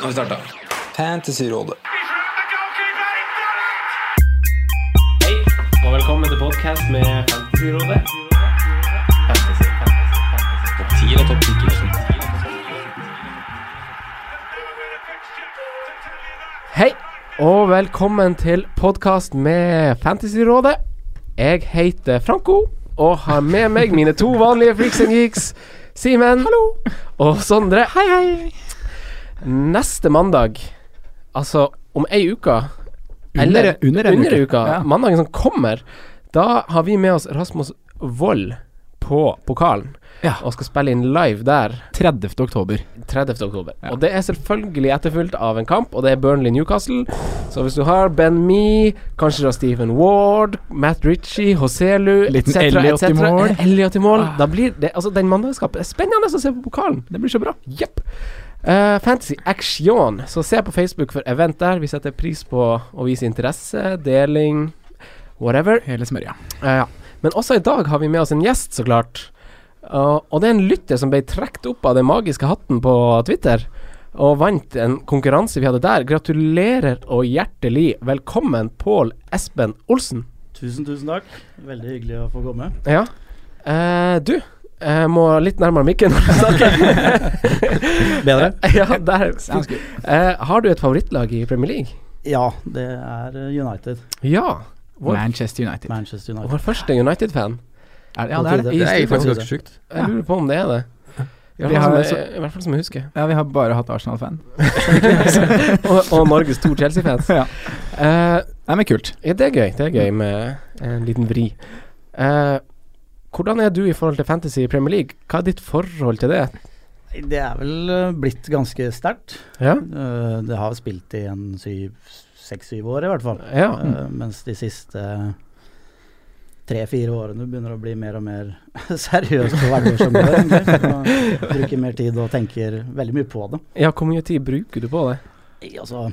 har vi starta. Fantasyrådet. Hei, og velkommen til podcast med Fantasyrådet. Topp 10 eller topp 10? Hei, og velkommen til podcast med Fantasyrådet. Jeg heter Franco, og har med meg mine to vanlige freaks and geeks, Simen og Sondre. Hei, hei. Neste mandag, altså om ei uke Under- under en uke. Ja. Mandagen som kommer, da har vi med oss Rasmus Wold på pokalen. Ja. Og skal spille inn live der 30. oktober. 30. oktober. Og det er selvfølgelig etterfulgt av en kamp, og det er Burnley-Newcastle. Så hvis du har Ben Me, kanskje du har Stephen Ward, Matt Ritchie, Hoselu Liten etc., Elliot i etc., mål. Ah. Elliot i mål. Da blir det, altså, den mandagskampen er spennende å se på pokalen. Det blir så bra. Jepp. Eh, Fantasy Action. Så se på Facebook for event der. Vi setter pris på å vise interesse, deling, whatever. Hele smørja. Eh, ja. Men også i dag har vi med oss en gjest, så klart. Eh, og det er en lytter som ble trukket opp av den magiske hatten på Twitter. Og vant en konkurranse vi hadde der. Gratulerer og hjertelig velkommen, Pål Espen Olsen. Tusen, tusen takk. Veldig hyggelig å få komme. Ja. Eh, du, jeg må litt nærmere mikken når du Bedre? snakker. ja, der. Eh, har du et favorittlag i Premier League? Ja, det er eh, United. Ja. Vår, Manchester United. Manchester United. vår første United-fan. Er, ja, det er det. Det er I faktisk studio. ganske sjukt. Jeg lurer på om det er det. I hvert Vi fall som har jeg- i hvert fall som jeg husker. Ja, vi har bare hatt Arsenal-fan. og, og Norges to Chelsea-fans. Ja. Eh, Nei, men kult. ja, det er gøy. Det er gøy med en liten vri. Eh, hvordan er du i forhold til fantasy i Premier League? Hva er ditt forhold til det? Det er vel eh, blitt ganske sterkt. Ja? Eh, Det har spilt i en seks-syv år, i hvert fall. Ja. Eh, Mens de siste tre-fire årene begynner å bli mer og mer seriøst for hvert år som går. egentlig. Så Bruker mer tid og tenker veldig mye på det. ja, hvor mye tid bruker du på det? I- Altså,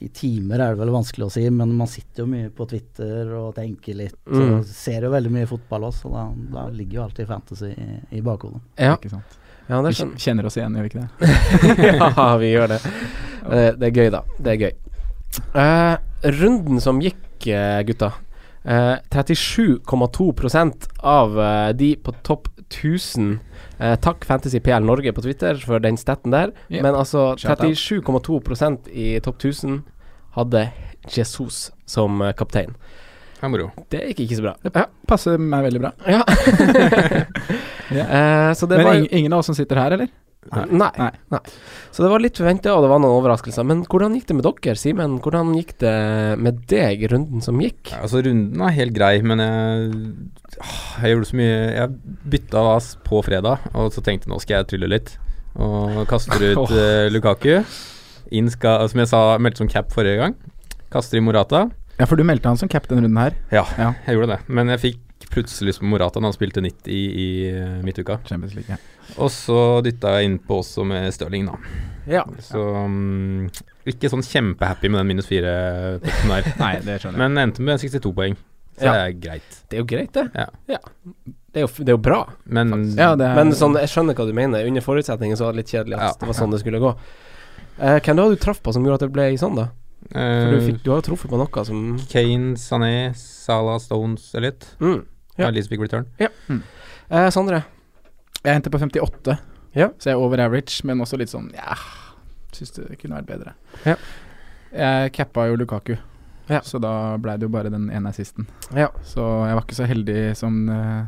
I timer er det vel vanskelig å si, men man sitter jo mye på Twitter og tenker litt. Mm. Og ser jo veldig mye fotball også, så da, da ligger jo alltid fantasy i, i bakhodet. Ja, Ikke sant? ja det Vi er sånn. kj- kjenner oss igjen, gjør vi ikke det? ja, vi gjør det. Det, det er gøy, da. Det er gøy. Eh, runden som gikk, eh, gutta. Eh, 37,2 av eh, de på topp 1000 eh, Takk Fantasy PL Norge på Twitter for den staten der. Yep. Men altså Shout out. 37,2 i topp 1000 hadde Jesus som eh, kaptein. Det er moro. Det gikk ikke så bra. Ja. Passer meg veldig bra. ja. Eh, så det men var ing- ingen av oss som sitter her, eller? Nei. Nei. Nei. Så det var litt forventa, og det var noen overraskelser. Men hvordan gikk det med dere, Simen? Hvordan gikk det med deg i runden som gikk? Ja, Altså, runden er helt grei, men jeg, ah, jeg gjorde så mye Jeg bytta da s- på fredag, og så tenkte jeg nå skal jeg trylle litt. Og kaster ut Åh. eh, Lukaku. Inn skal, som jeg sa, meldte som cap forrige gang. Kaster i Morata. Ja, for du meldte han som cap denne runden her. Ja, Ja. jeg gjorde det. Men jeg fikk plutselig lyst på Morata da han spilte 90 i, i eh, midtuka. Champions League. Ja. Og så dytta jeg innpå også med Stirling, da. Ja. Så mm, ikke sånn kjempehappy med den minus fire-potten der. Nei, det skjønner jeg. Men endte med 62 poeng, så Ja. det er greit. Det er jo greit, det. Ja. Det er jo, f- det er jo bra. Men ja, det er, Men sånn, jeg skjønner hva du mener. Under forutsetninger så var det litt kjedelig at Ja. det var sånn det skulle gå. Eh, hvem det var du traff på som gjorde at det ble sånn, da? For du, eh, fikk, du har jo truffet på noe som Kane, Sané, Salah, Stones, Elliot. mm. Ja. Ja. Lisbeth Return. eh, Sondre. jeg endte på 58, Ja. så jeg er over average, men også litt sånn ja, syns det kunne vært bedre. Ja. Jeg cappa jo Lukaku, Ja. så da blei det jo bare den ene assisten. Ja. Så jeg var ikke så heldig som eh,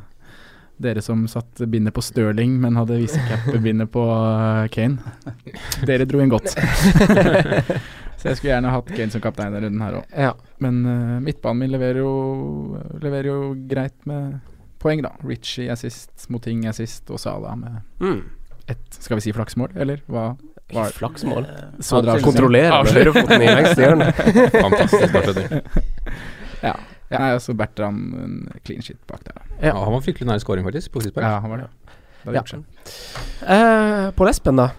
dere som satt bindet på Stirling, men hadde visecap-bindet på eh, Kane. Dere dro inn godt. så jeg skulle gjerne hatt Kane som kaptein denne runden her òg. ja. Men eh, midtbanen min leverer jo, leverer jo greit med poeng, da. Richie assist, Moting assist og Salah med Mm. ett, skal vi si flaksmål, eller hva? Ikke Flaksmål. Eh, Så Han drastisk. kontrollerer med høyrefoten i lengste hjørne. Fantastisk. Bare skjønner. Ja. ja. Nei, altså Bertram en clean shit bak der. da. Ja. Ja, han var fryktelig nær scoring, faktisk, på frispark. Ja, han var det. Det hadde Ja. gjort seg. Eh, Pål Espen, da?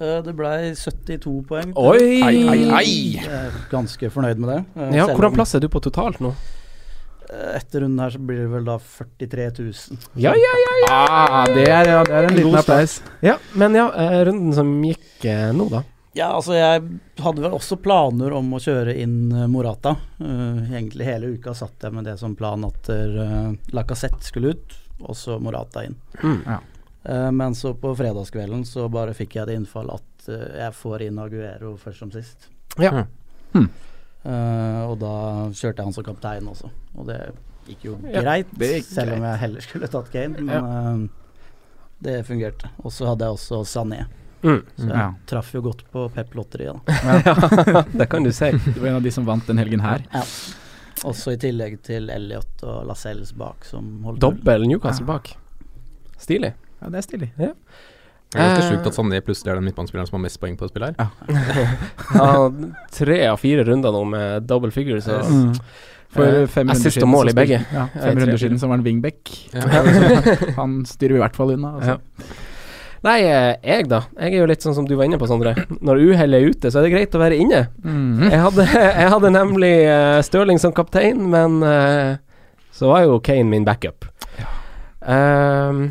Eh, Det ble 72 poeng. Oi! Ai, ai, ai. Jeg er ganske fornøyd med det. Eh, Ja, selv om, hvordan plass er du på totalt nå? eh, Etter runden her så blir det vel da 43 000. Ja, ja, ja, ja. Ah, det er, ja, det er en God liten start. applaus. ja men ja, eh, runden som gikk eh, nå, da. Ja, altså jeg hadde vel også planer om å kjøre inn eh, Morata. Eh, egentlig hele uka satt jeg med det som plan at uh, Lacassette skulle ut, og så Morata inn. Mm. Ja. Eh, men så på fredagskvelden så bare fikk jeg det innfall at eh, jeg får inn Aguero først som sist. Ja. Hmm. Eh, og da kjørte jeg han som kaptein også, og det gikk jo Ja, greit, det gikk selv om greit. jeg heller skulle tatt Kane, men eh, det fungerte. Og så hadde jeg også Sané, Mm. så jeg Ja. traff jo godt på Pep-lotteriet, da. Ja, det kan du si. Du var en av de som vant den helgen her. Også i tillegg til Elliot og Lascelles bak, som holdt Dobbel Newcastle bak. Stilig. Ja, det er stilig. Det er ganske Eh. sjukt at Sané plutselig er den midtbanespilleren som har mest poeng på et spill her. Ja, tre av fire runder nå med double figures. Så. Mm. Eh, For fem runder assist og siden mål så i begge. spilte- Ja, Ja, i fem tre fire. runder siden så var han wingback. Ja. sånn- Han styrer i hvert fall unna. Altså. Ja. liksom- Nei, eh, jeg da. Jeg er jo litt sånn som du var inne på, Sondre. Når uhellet er ute, så er det greit å være inne. Mhm. Jeg hadde, jeg hadde nemlig eh, Stirling som kaptein, men eh, så var jo Kane min backup. Ehm,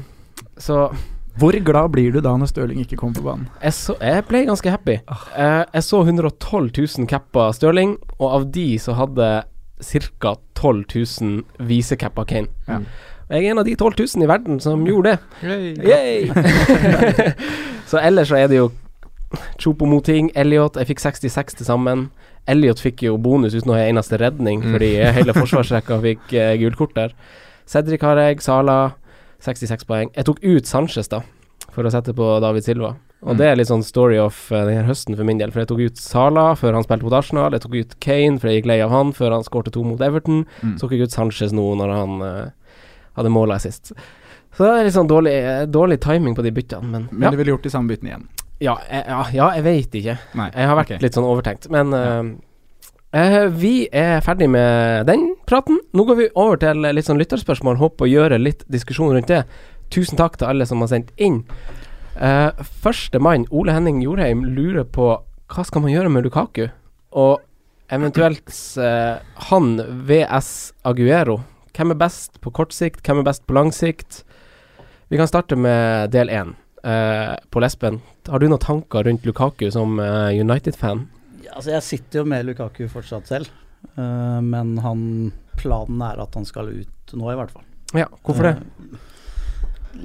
så Hvor glad blir du da når Stirling ikke kommer på banen? jeg, så, jeg ble ganske happy. Eh, jeg så 112 000 capper Stirling, og av de så hadde ca. 12 000 visecapper Kane. Mm. Ja. Og jeg er en av de 12 000 i verden som gjorde det. Ja. Yay! så ellers så er det jo Chopo Moting, Elliot Jeg fikk 66 til sammen. Elliot fikk jo bonus uten å ha en eneste redning, Mm. fordi hele forsvarsrekka fikk uh, gult kort der. Cedric har jeg, Sala 66 poeng. Jeg tok ut Sanchez, da, for å sette på David Silva. Og Mm. det er litt sånn story of eh, denne høsten for min del, for jeg tok ut Sala før han spilte mot Arsenal. Jeg tok ut Kane, for jeg gikk lei av han før han skårte to mot Everton. Mm. Så tok jeg ut Sanchez nå når han eh, hadde måla sist. Så det er litt sånn dårlig, eh, dårlig timing på de byttene, men, Men du ville gjort de samme byttene igjen? ja, ja, jeg, ja, ja, jeg veit ikke. Nei. Jeg har vært ok. litt sånn overtenkt. Men eh, eh, vi er ferdig med den praten. Nå går vi over til eh, litt sånn lytterspørsmål. Håper å gjøre litt diskusjon rundt det. Tusen takk til alle som har sendt inn. Eh, Førstemann, Ole Henning Jorheim, lurer på hva skal man gjøre med Lukaku? Og eventuelt eh, han VS Aguero. Hvem er best på kort sikt? Hvem er best på lang sikt? Vi kan starte med del én eh, på Lesben. Har du noen tanker rundt Lukaku som eh, United-fan? Ja, altså jeg sitter jo med Lukaku fortsatt selv, eh, men han, planen er at han skal ut nå, i hvert fall. Ja, hvorfor det? Eh,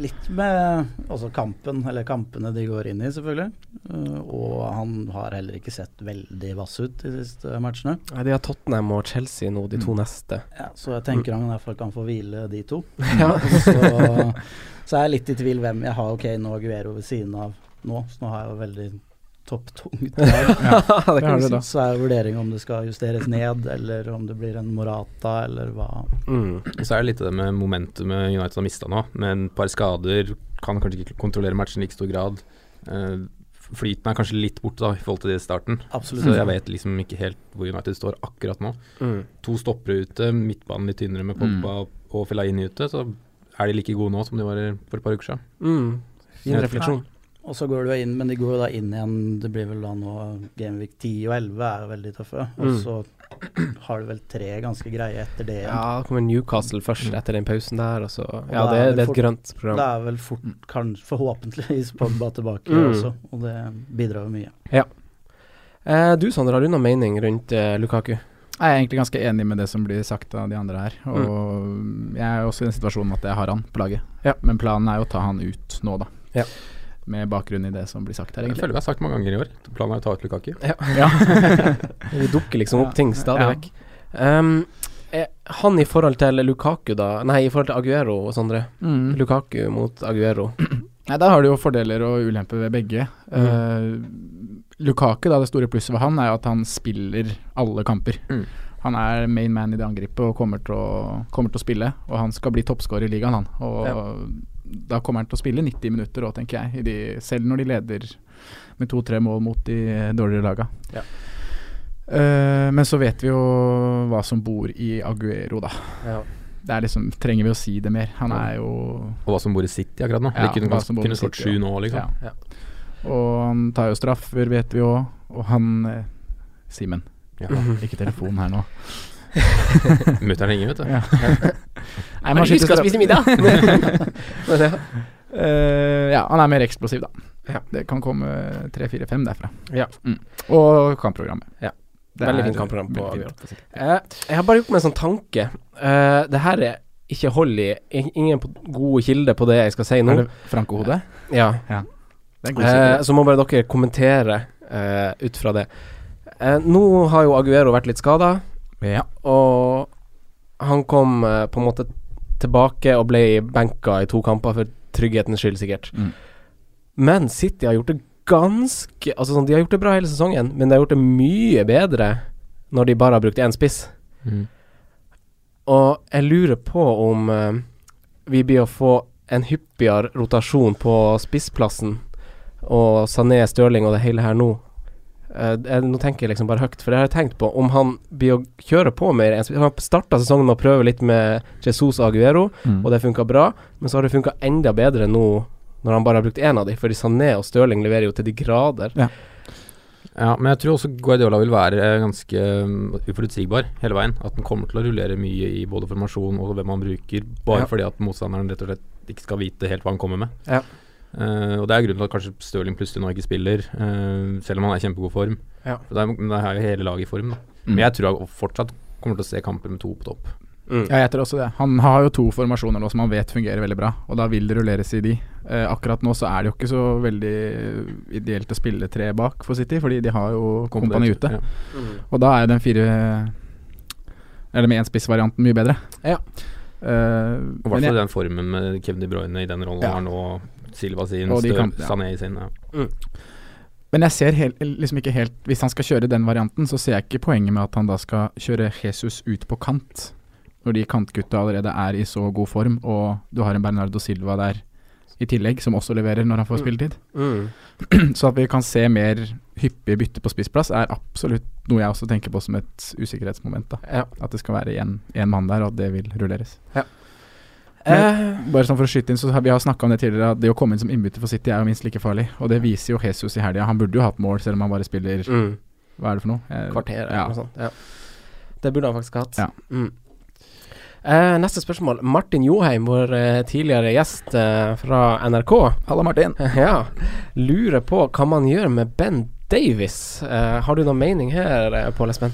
Litt med altså kampen, eller kampene de går inn i, selvfølgelig. Eh, og han har heller ikke sett veldig vass ut de siste matchene. Nei, De har Tottenham og Chelsea nå, de to neste. Ja, så jeg tenker han i hvert fall kan få hvile de to. Ja. Så, så er jeg litt i tvil hvem jeg har. Ok, nå Aguero ved siden av nå, så nå har jeg jo veldig topptungt lag. det har du da. Så er vurderinga om det skal justeres ned, eller om det blir en Morata, eller hva. Mm. Så er det litt det med momentumet United har mista nå, med et par skader. Kan kanskje ikke kontrollere matchen i like stor grad. Eh, flyten er kanskje litt borte da i forhold til det i starten. Absolutt. Så jeg vet liksom ikke helt hvor United står akkurat nå. Mm. To stoppere ute, midtbanen litt tynnere med Mm. Poppa og Fellaini ute, så er de like gode nå som de var for et par uker siden. Mm. Fin Jeg- refleksjon. Og så går du inn, men de går jo da inn igjen. Det blir vel da nå Gameweek 10 og 11 er jo veldig tøffe. Og Mm. så har du vel tre ganske greie etter det igjen. Ja, da kommer Newcastle først etter den pausen der, og så Mm. Ja, da det, er det det er et fort- grønt Da program. er vel fort, kanskje, forhåpentligvis Pogba tilbake Mm. også, og det bidrar jo mye. Eh, du, Sander, har du noen mening rundt eh, Lukaku? Jeg er egentlig ganske enig med det som blir sagt av de andre her. Og jeg er også i den situasjonen at jeg har han på laget. Mm. Ja. Men planen er jo å ta han ut nå, da. Ja. Med bakgrunn i det som blir sagt her, Jeg egentlig. føler vi har sagt mange ganger i år. Planen er å ta ut Lukaku. Ja. Det dukker liksom opp ting stadig Ja. vekk. Ehm, eh, han i forhold til Lukaku, da Nei, i forhold til Aguero og Sondre. Mm. Lukaku mot Aguero. Nei, da har du jo fordeler og ulemper ved begge. Eh, Lukaku, da, det store plusset ved han, er jo at han spiller alle kamper. Mm. Han er main man i det angrepet og kommer til, å, kommer til å spille. Og han skal bli toppskårer i ligaen, han. Og da kommer han til å spille 90 minutter òg, tenker jeg. I de, selv når de leder med to-tre mål mot de dårligere laga. Ja. Eh, men så vet vi jo hva som bor i Aguero, da. Ja. Det er liksom, trenger vi å si det mer? Han er jo Og hva som bor i City akkurat nå. Ja, de kunne hva som kanskje bor i kunne skåret City, sju nå, liksom. Ja. Og han tar jo straffer, vet vi òg. Og han eh, Simen, Ja. ikke telefonen her nå. Mutter'n ringer, vet du. Ja. Nei, Har men han du huska å skyter straff- spise middag? Men ja. Eh, ja, han er mer eksplosiv, da. Ja. Det kan komme tre, fire, fem derfra. Ja. Mm. Og kampprogrammet. Ja. Det Veldig er fint kampprogram på veldig fint. Eh, jeg har bare gjort meg en sånn tanke. Eh, det her er ikke hold i. In- Ingen på- gode kilder på det jeg skal si Er nå. det Franco-hodet? Ja. Det er en Eh, god sikkerhet. så må bare dere kommentere eh, ut fra det. Eh, nå har jo Aguero vært litt skada, ja. og han kom eh, på en måte tilbake og ble benka i to kamper for trygghetens skyld, sikkert. Mm. Men City har gjort det ganske Altså sånn, De har gjort det bra hele sesongen, men de har gjort det mye bedre når de bare har brukt én spiss. Mm. Og jeg lurer på om eh, vi blir å få en hyppigere rotasjon på spissplassen, og Sané, Stirling og det hele her nå. Eh, jeg, nå tenker jeg liksom bare høyt, for det har jeg tenkt på. Om han blir å kjøre på mer enn spiss- Han starta sesongen med å prøve litt med Jesus og Aguero, Mm. og det funka bra, men så har det funka enda bedre nå når han bare har brukt én av de, fordi Sané og Stirling leverer jo til de grader. Ja, men jeg tror også Guardiola vil være eh, ganske um, uforutsigbar hele veien. At den kommer til å rullere mye i både formasjon og hvem han bruker, bare Ja. fordi at motstanderen rett og slett ikke skal vite helt hva han kommer med. Ja. Eh, og det er grunnen til at kanskje Stirling plutselig nå ikke spiller, eh, selv om han er i kjempegod form. Ja. For det er, men det er jo hele laget i form, da. Mm. Men jeg tror han fortsatt kommer til å se kamper med to på topp. Mm. Ja, jeg tror også det. Han har jo to formasjoner nå som han vet fungerer veldig bra, og da vil det rulleres i de. Eh, akkurat nå så er det jo ikke så veldig ideelt å spille tre bak for City, fordi de har jo Kompani ute. Ja. Og da er jo den fire Eller med én spissvarianten mye bedre. Ja. Eh, Og i men hvert jeg, fall den formen med Kevin De Bruyne i den rollen Ja. han har nå, Silva sin, Og de Stø kampene, ja. Sané sin. Ja. men jeg ser hel, liksom ikke helt Hvis han skal kjøre den varianten, så ser jeg ikke poenget med at han da skal kjøre Jesus ut på kant, når de kantgutta allerede er i så god form, og du har en Bernardo Silva der i tillegg, som også leverer når han får Mm. spilletid. Mm. Så at vi kan se mer hyppige bytte på spissplass, er absolutt noe jeg også tenker på som et usikkerhetsmoment. da Ja. At det skal være én mann der, og at det vil rulleres. Eh, Bare sånn for å skyte inn, så har Vi har snakka om det tidligere, at det å komme inn som innbytter for City er jo minst like farlig. Og det viser jo Jesus i helga. Han burde jo hatt mål, selv om han bare spiller mm. Hva er det for noe? Eh, kvarter eller Ja. noe sånt. Ja. Det burde han faktisk hatt. Ja. Mm. Eh, neste spørsmål. Martin Joheim, vår eh, tidligere gjest eh, fra NRK, Halla, Martin. ja, lurer på hva man gjør med Ben Davies. Eh, har du noen mening her, eh, Pål Espen?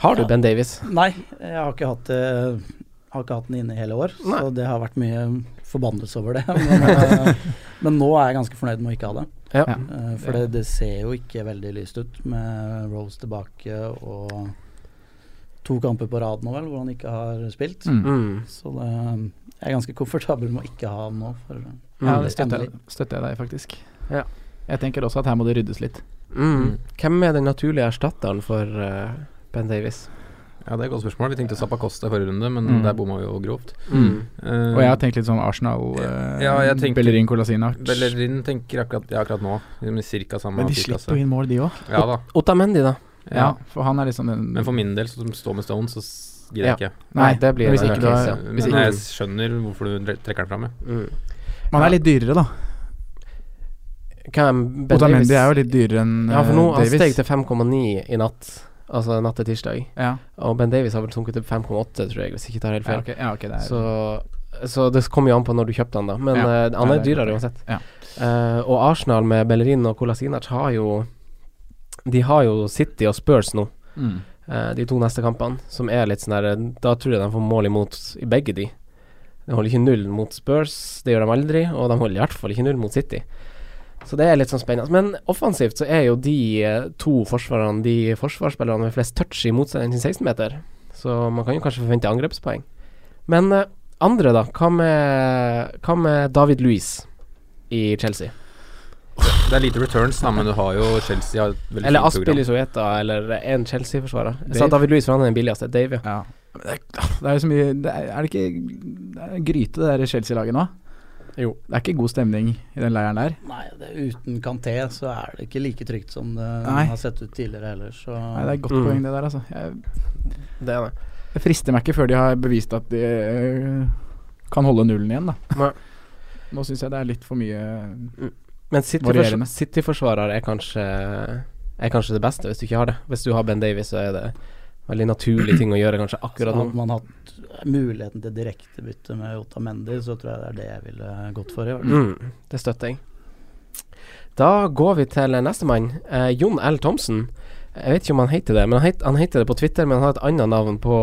Har du Ja. Ben Davies? Nei, jeg har ikke hatt det har ikke hatt den inne i hele år, så Nei. det har vært mye forbannelse over det. Men, eh, men nå er jeg ganske fornøyd med å ikke ha det. Ja. Ja. Eh, For det, det ser jo ikke veldig lyst ut med Rose tilbake og to kamper på rad nå, vel, hvor han ikke har spilt. Mm. Mm. Så det, jeg er ganske komfortabel med å ikke ha han nå. For, Ja, Mm. det støtter, jeg- støtter jeg deg faktisk. Ja. Jeg tenker også at her må det ryddes litt. Mm. Hvem er den naturlige erstatteren for eh, Ben Davies? Ja, det er et godt spørsmål. Vi tenkte Zappacosta i forrige runde, men Mm. der bomma vi jo grovt. Mm. Eh, Og jeg har tenkt litt sånn Arsenal, eh, Ja, jeg tenkte- Bellerin Colasinac. Bellerin tenker akkurat, ja, akkurat nå. Med cirka samme Men de prisklasse. slipper jo inn mål, de òg. Ja da. Otamendi, da? Ja. Ja, for han er liksom den Men for min del, som står med Stone, så s- gidder jeg ikke. Nei, Nei, det blir hvis en ikke du case, har- ja. Men hvis ikke- jeg skjønner hvorfor du dre- trekker den fram. jeg. Mm. Man er litt dyrere, da. Hvem Ben Davies? Otamendi er jo litt dyrere enn Ja, for nå eh, han Davies. steg til 5,9 i natt, altså natt til tirsdag. ja. Og Ben Davies har vel sunket til 5,8, tror jeg, hvis ikke jeg tar helt Ja, feil. ok, ja, ok, det er Så, så det kommer jo an på når du kjøpte han, da. Men Ja. eh, han Nei, er det er dyrere klart. uansett. Ja. Eh, og Arsenal med Bellerin og Kolasinac har jo De har jo City og Spurs nå, mm. eh, de to neste kampene, som er litt sånn der Da tror jeg de får mål imot i begge de. De holder ikke null mot Spurs, det gjør de aldri, og de holder i hvert fall ikke null mot City. Så det er litt sånn spennende. Men offensivt så er jo de eh, to forsvarerne de forsvarsspillerne med flest touch i motstanderen sin 16-meter, så man kan jo kanskje forvente angrepspoeng. Men eh, andre, da? Hva med, hva med David Louise i Chelsea? Det er lite returns, da, men du har jo Chelsea har et veldig Eller fint Aspil program. i Sovjeta, eller en Chelsea-forsvarer. Jeg sa Dave. David Louise, for han er den billigste. Dave, ja. Ja. Men Det er, det er jo så mye det er, er det ikke det er gryte, det der Chelsea-laget nå? Jo. Det er ikke god stemning i den leiren der. nei, det, uten Kanté så er det ikke like trygt som det Nei. har sett ut tidligere heller. Så Nei, det er et godt Mm. poeng, det der, altså. Jeg, Det er det. det frister meg ikke før de har bevist at de øh, kan holde nullen igjen, da. Nei. Nå syns jeg det er litt for mye Men Varierende. City-forsvarer City er, kanskje, er kanskje det beste, hvis du ikke har det. Hvis du har Ben Davies, så er det Veldig naturlig ting å gjøre kanskje Så akkurat hadde nå. man hatt muligheten til direktebytte med Jota Mendy, så tror jeg det er det jeg ville gått for. i hvert fall. Mm, det støtter jeg. Da går vi til nestemann. Eh, Jon L. Thomsen. Jeg vet ikke om han heter det, men han, het, han heter det på Twitter, men han har et annet navn på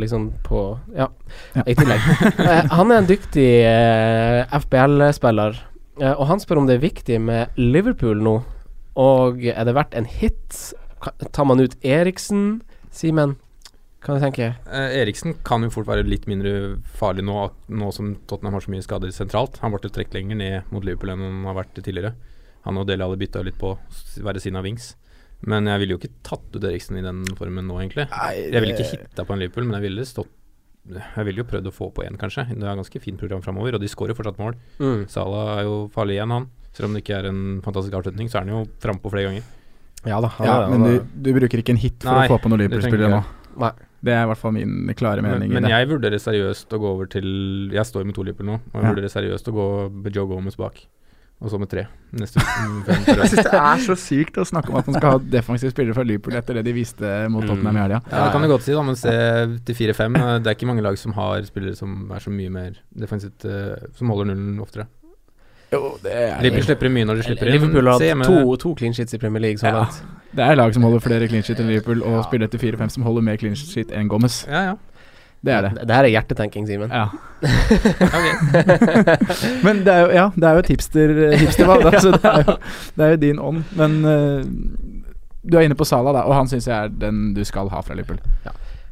liksom på Ja, Ja. i tillegg. Eh, han er en dyktig eh, FBL-spiller, eh, og han spør om det er viktig med Liverpool nå. Og er det verdt en hit? Ka- Tar man ut Eriksen? Simen, hva tenker du? Eh, Eriksen kan jo fort være litt mindre farlig nå, at- nå som Tottenham har så mye skader sentralt. Han ble til trekk lenger ned mot Liverpool enn han har vært tidligere. Han og Dele Alli bytta litt på s- hver sin av Wings. Men jeg ville jo ikke tatt ut Eriksen i den formen nå, egentlig. Jeg ville Eh, ikke hitta på en Liverpool, men jeg ville stått jeg ville jo prøvd å få på én, kanskje. Det er et ganske fint program framover, og de skårer fortsatt mål. Mm. Salah er jo farlig igjen, han. Selv om det ikke er en fantastisk avslutning, så er han jo frampå flere ganger. Ja da. Ja, men du, du bruker ikke en hit for Nei, å få på noen det tenker Liverpool-spillere nå. Nei. Det er i hvert fall min klare Men, mening. i men det. jeg vurderer seriøst å gå over til Jeg står med to Liverpool nå, og jeg Ja. vurderer seriøst å gå med Joe Gomez bak. Og så med tre. Neste mm, fem på rad. Jeg syns det er så sykt å snakke om at man skal ha defensive spillere fra Liverpool etter det de viste mot Tottenham i helga. Ja, det kan du godt si, da, men se til fire-fem. eh, Det er ikke mange lag som har spillere som er så mye mer defensivt eh, Som holder nullen oftere. Mm. Liverpool slipper inn mye når de slipper inn. Liverpool har Se hatt med- to, to clean shits i Premier League så Ja. langt. Det er lag som holder flere clean shit enn Liverpool, og spiller etter 4-5 som holder mer clean shit enn Gomez. Ja, ja. Det er det. Det her er hjertetenking, Simen. Ja. Ok. Men det er jo, ja, det er jo et hipster, hipstervalg, da, så det er, jo, det er jo din ånd. Men eh, du er inne på Salah, da, og han syns jeg er den du skal ha fra Liverpool.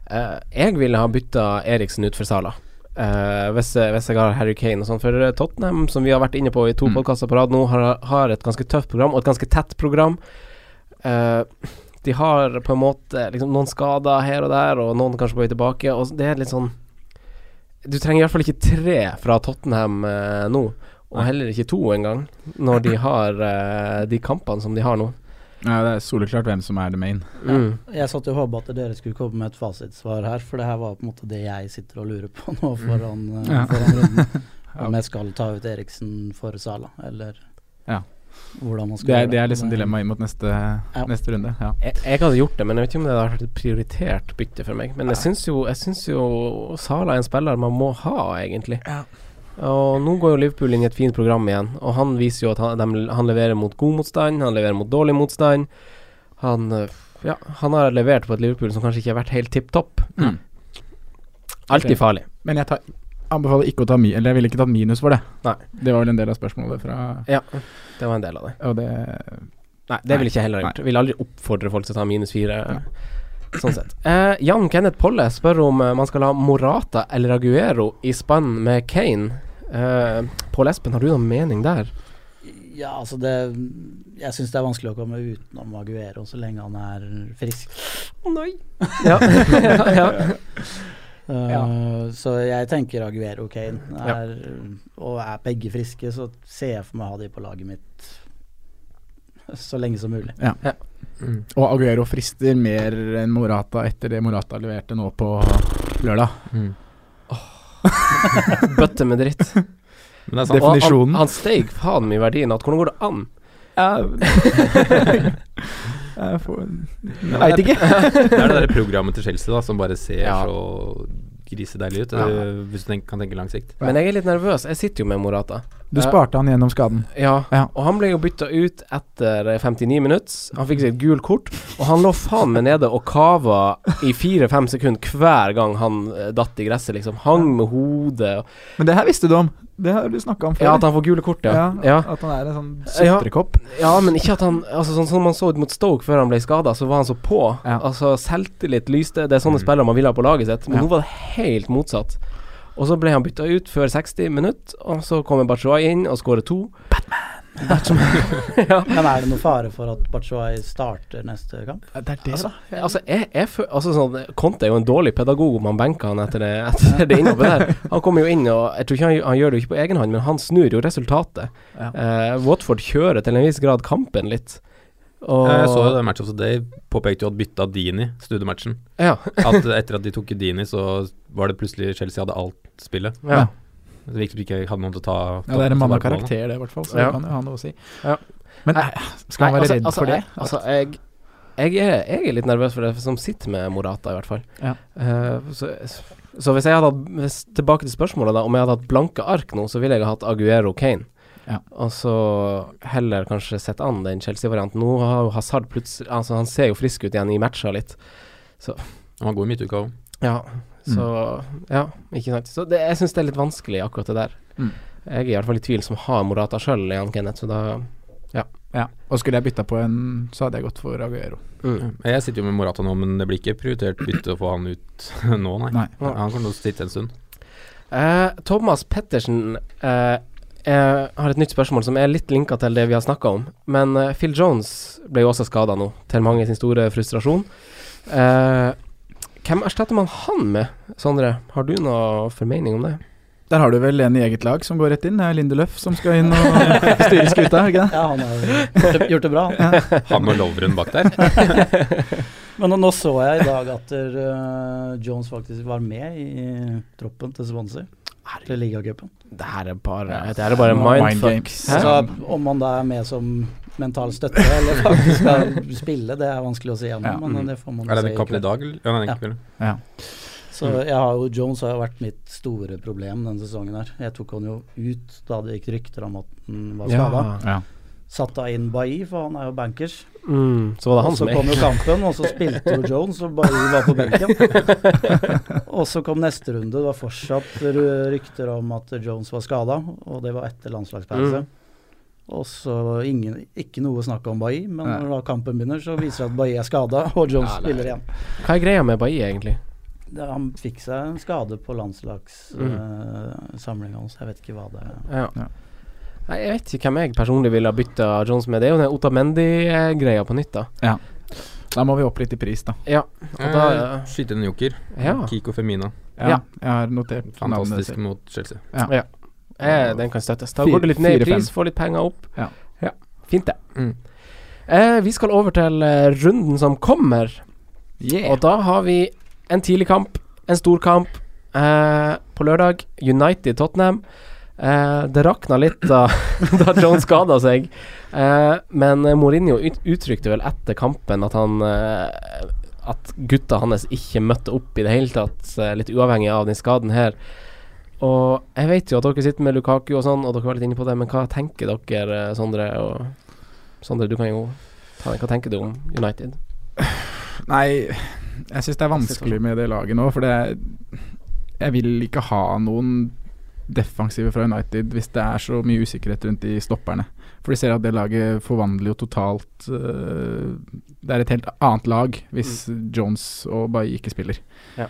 Eh, jeg ville ha bytta Eriksen ut for Sala. Eh, hvis, hvis jeg har Harry Kane og sånn. For eh, Tottenham, som vi har vært inne på i to Mm. podkaster på rad nå, har, har et ganske tøft program, og et ganske tett program. Eh, de har på en måte liksom, noen skader her og der, og noen kanskje på vei tilbake. Og det er litt sånn Du trenger i hvert fall ikke tre fra Tottenham eh, nå, og Nei. heller ikke to engang, når de har eh, de kampene som de har nå. Ja, det er soleklart hvem som er the main. Mm. Jeg satt og håpa at dere skulle komme med et fasitsvar her, for det her var på en måte det jeg sitter og lurer på nå foran, eh, Mm. Ja. foran runden. Ja. Om jeg skal ta ut Eriksen for Sala, eller Ja. hvordan man skal Det er, gjøre det er liksom Men- dilemmaet inn mot neste, neste runde. Ja. Jeg, jeg hadde gjort det, men jeg vet ikke om det hadde vært et prioritert bytte for meg. Men jeg Ja. syns jo, jeg syns jo Sala er en spiller man må ha, egentlig. Ja. Og nå går jo Liverpool inn i et fint program igjen, og han viser jo at han, dem- han leverer mot god motstand, han leverer mot dårlig motstand. Han øh, ja, han har levert på et Liverpool som kanskje ikke har vært helt tipp topp. Mm. Alltid Ok. farlig. Men jeg tar, anbefaler ikke å ta mi, eller jeg ville ikke tatt minus for det. Nei. Det var vel en del av spørsmålet fra Ja, det var en del av det. Og det Nei, det vil ikke jeg heller ha gjort. Vil aldri oppfordre folk til å ta minus fire. Sånn sett. Eh, Jan Kenneth Polle spør om eh, man skal ha Morata eller Aguero i spann med Kane. Eh, Pål Espen, har du noen mening der? Ja, altså det Jeg syns det er vanskelig å komme utenom Aguero så lenge han er frisk. Nei. Ja. ja, ja. Uh, Ja. Så jeg tenker Aguero og Kane. Ja. Er, Og er begge friske, så ser jeg for meg å ha de på laget mitt så lenge som mulig. Mm. Og Aguero frister mer enn Morata etter det Morata leverte nå på lørdag. Mm. Bøtte med dritt. Men det er sant. Og Definisjonen. Han, han steg faen meg i verdien. At hvordan går det an? jeg får Men Veit det er- ikke. Det er det der programmet til Chelsea da, som bare ser Ja. så grisedeilig ut, Ja. eh, hvis du tenk, kan tenke lang sikt. Men jeg er litt nervøs. Jeg sitter jo med Morata. Du sparte han gjennom skaden. Ja, Ja. og han ble jo bytta ut etter eh, 59 minutter. Han fikk seg et gult kort, og han lå faen meg nede og kava i fire-fem sekunder hver gang han eh, datt i gresset, liksom. Hang med hodet. og- Men det her visste du om. Det har du snakka om før. Ja, at han får gule kort, ja. ja. At han er en sånn Ja. sutrekopp. Ja, men ikke at han Altså Sånn som man så ut mot Stoke før han ble skada, så var han så på. Ja. Altså Selvtillit lyste. Det er sånne Mm. spillere man vil ha på laget sitt, men Ja. nå var det helt motsatt. Og så ble han bytta ut før 60 minutter, og så kommer Bachoy inn og skårer to. Men er det noen fare for at Bachoai starter neste kamp? Det er det, da. Altså, jeg, jeg fø- altså sånn, Conte er jo en dårlig pedagog om han benker han etter det, etter det innhoppet der. Han kommer jo inn, og jeg tror ikke han, han gjør det jo ikke på egen hånd, men han snur jo resultatet. Ja. Eh, Watford kjører til en viss grad kampen litt. Og, Eh, Jeg så jo det Match of the Day påpekte jo at bytta Dini snudde matchen. Ja, At etter at de tok Dini, så var det plutselig Chelsea hadde alt spillet. ja. Ja. Det virket som de ikke hadde noen til å ta Ja, det er en mann av ta- ta- ta- ta- ta- ta- ta- ta- ta- ta- ta- ta- ta- ta- ta- karakter, det, i hvert fall. Så Ja. det kan jo ha noe å si. Ja. Men Nei, skal man Nei, være altså- redd altså, for det? Jeg, altså, jeg Jeg er, jeg er litt nervøs for det som sitter med Morata, i hvert fall. Ja. Eh, så, så hvis jeg hadde hatt hvis, Tilbake til spørsmålet, da. Om jeg hadde hatt blanke ark nå, så ville jeg ha hatt Aguero Kane. Ja. Og så heller kanskje sett an den Chelsea-varianten. Nå har jo Hazard plutselig Altså, han ser jo frisk ut igjen i matcher litt. Han var god i midtuka òg. Ja. Så Ja, ikke sant. Så det, jeg syns det er litt vanskelig, akkurat det der. Mm. Jeg er i hvert fall i tvil, som har Morata sjøl, Jan Kenneth, så da Ja. Og skulle jeg bytta på en, så hadde jeg gått for Aguero. mm. Jeg sitter jo med Morata nå, men det blir ikke prioritert bytte å få han ut nå, nei. Nei. Han kommer til å sitte en stund. Eh, Thomas Pettersen eh, eh, har et nytt spørsmål som er litt linka til det vi har snakka om. Men eh, Phil Jones ble jo også skada nå, til mange sin store frustrasjon. Eh, hvem erstatter man han med, Sondre? Har du noe formening om det? Der har du vel en i eget lag som går rett inn. Det er Lindeløf som skal inn og styre skuta. er det Ikke det? Ja, han har jo gjort det, gjort det bra. han. Han og Lovren bak der. Men nå- nå så jeg i dag at eh, Jones faktisk var med i troppen til Swansea. Til ligacupen. Det her er bare, det her er bare mindfuck. games. Hæ? Så om han da er med som mental støtte eller faktisk skal spille, det er vanskelig å si ennå, Ja. men det får man Er det se den kampen i kveld. dag? eller? Ja, nei, Ja. ikke vel. Ja. Så Mm. jeg har jo, Jones har jo vært mitt store problem denne sesongen her. Jeg tok han jo ut da det gikk rykter om at han var skada. Ja. Satt da inn Bailly, for han er jo bankers. Mm, så var det Og han så som kom jo er kampen, og så spilte jo Jones, og Bailly var på benken. Og så kom neste runde. Det var fortsatt ru- rykter om at Jones var skada, og det var etter landslagspause. Mm. Og så ingen, ikke noe snakk om Bailly, men Nei. når da kampen begynner, så viser det at Bailly er skada, og Jones Ja, nei. spiller igjen. Hva er greia med Bailly, egentlig? Det- Han fikk seg en skade på landslagssamlinga hans. Jeg vet ikke hva det er. Ja. Ja. Nei, jeg vet ikke hvem jeg personlig ville ha bytta Jones med. Det er jo den Otamendi-greia på nytt, da. Da må vi opp litt i pris, da. Ja, og da Eh, Skyte inn en joker. Ja. Kiko Femina. Ja, Ja. Jeg har notert navnet Fantastisk selv. mot Chelsea. Eh, den kan støttes. Da Fire- går det litt ned i fire-fem. pris, får litt penger opp. Ja. Fint, det. Mm. Eh, vi skal over til eh, runden som kommer, Yeah. og da har vi en tidlig kamp, en stor kamp eh, på lørdag. United-Tottenham. Eh, det rakna litt da, da John skada seg, eh, men eh, Mourinho ut, uttrykte vel etter kampen at han eh, At gutta hans ikke møtte opp i det hele tatt, eh, litt uavhengig av den skaden her. Og jeg vet jo at dere sitter med Lukaku og sånn, og dere var litt inne på det, men hva tenker dere, eh, Sondre? Og Sondre, du kan jo ta den. Hva tenker du om United? Nei, jeg syns det er sånn. vanskelig med det laget nå, for det er Jeg vil ikke ha noen defensive fra United hvis det er så mye usikkerhet rundt de stopperne. For de ser at det laget forvandler jo totalt øh, Det er et helt annet lag hvis Jones og Bailly ikke spiller. Ja.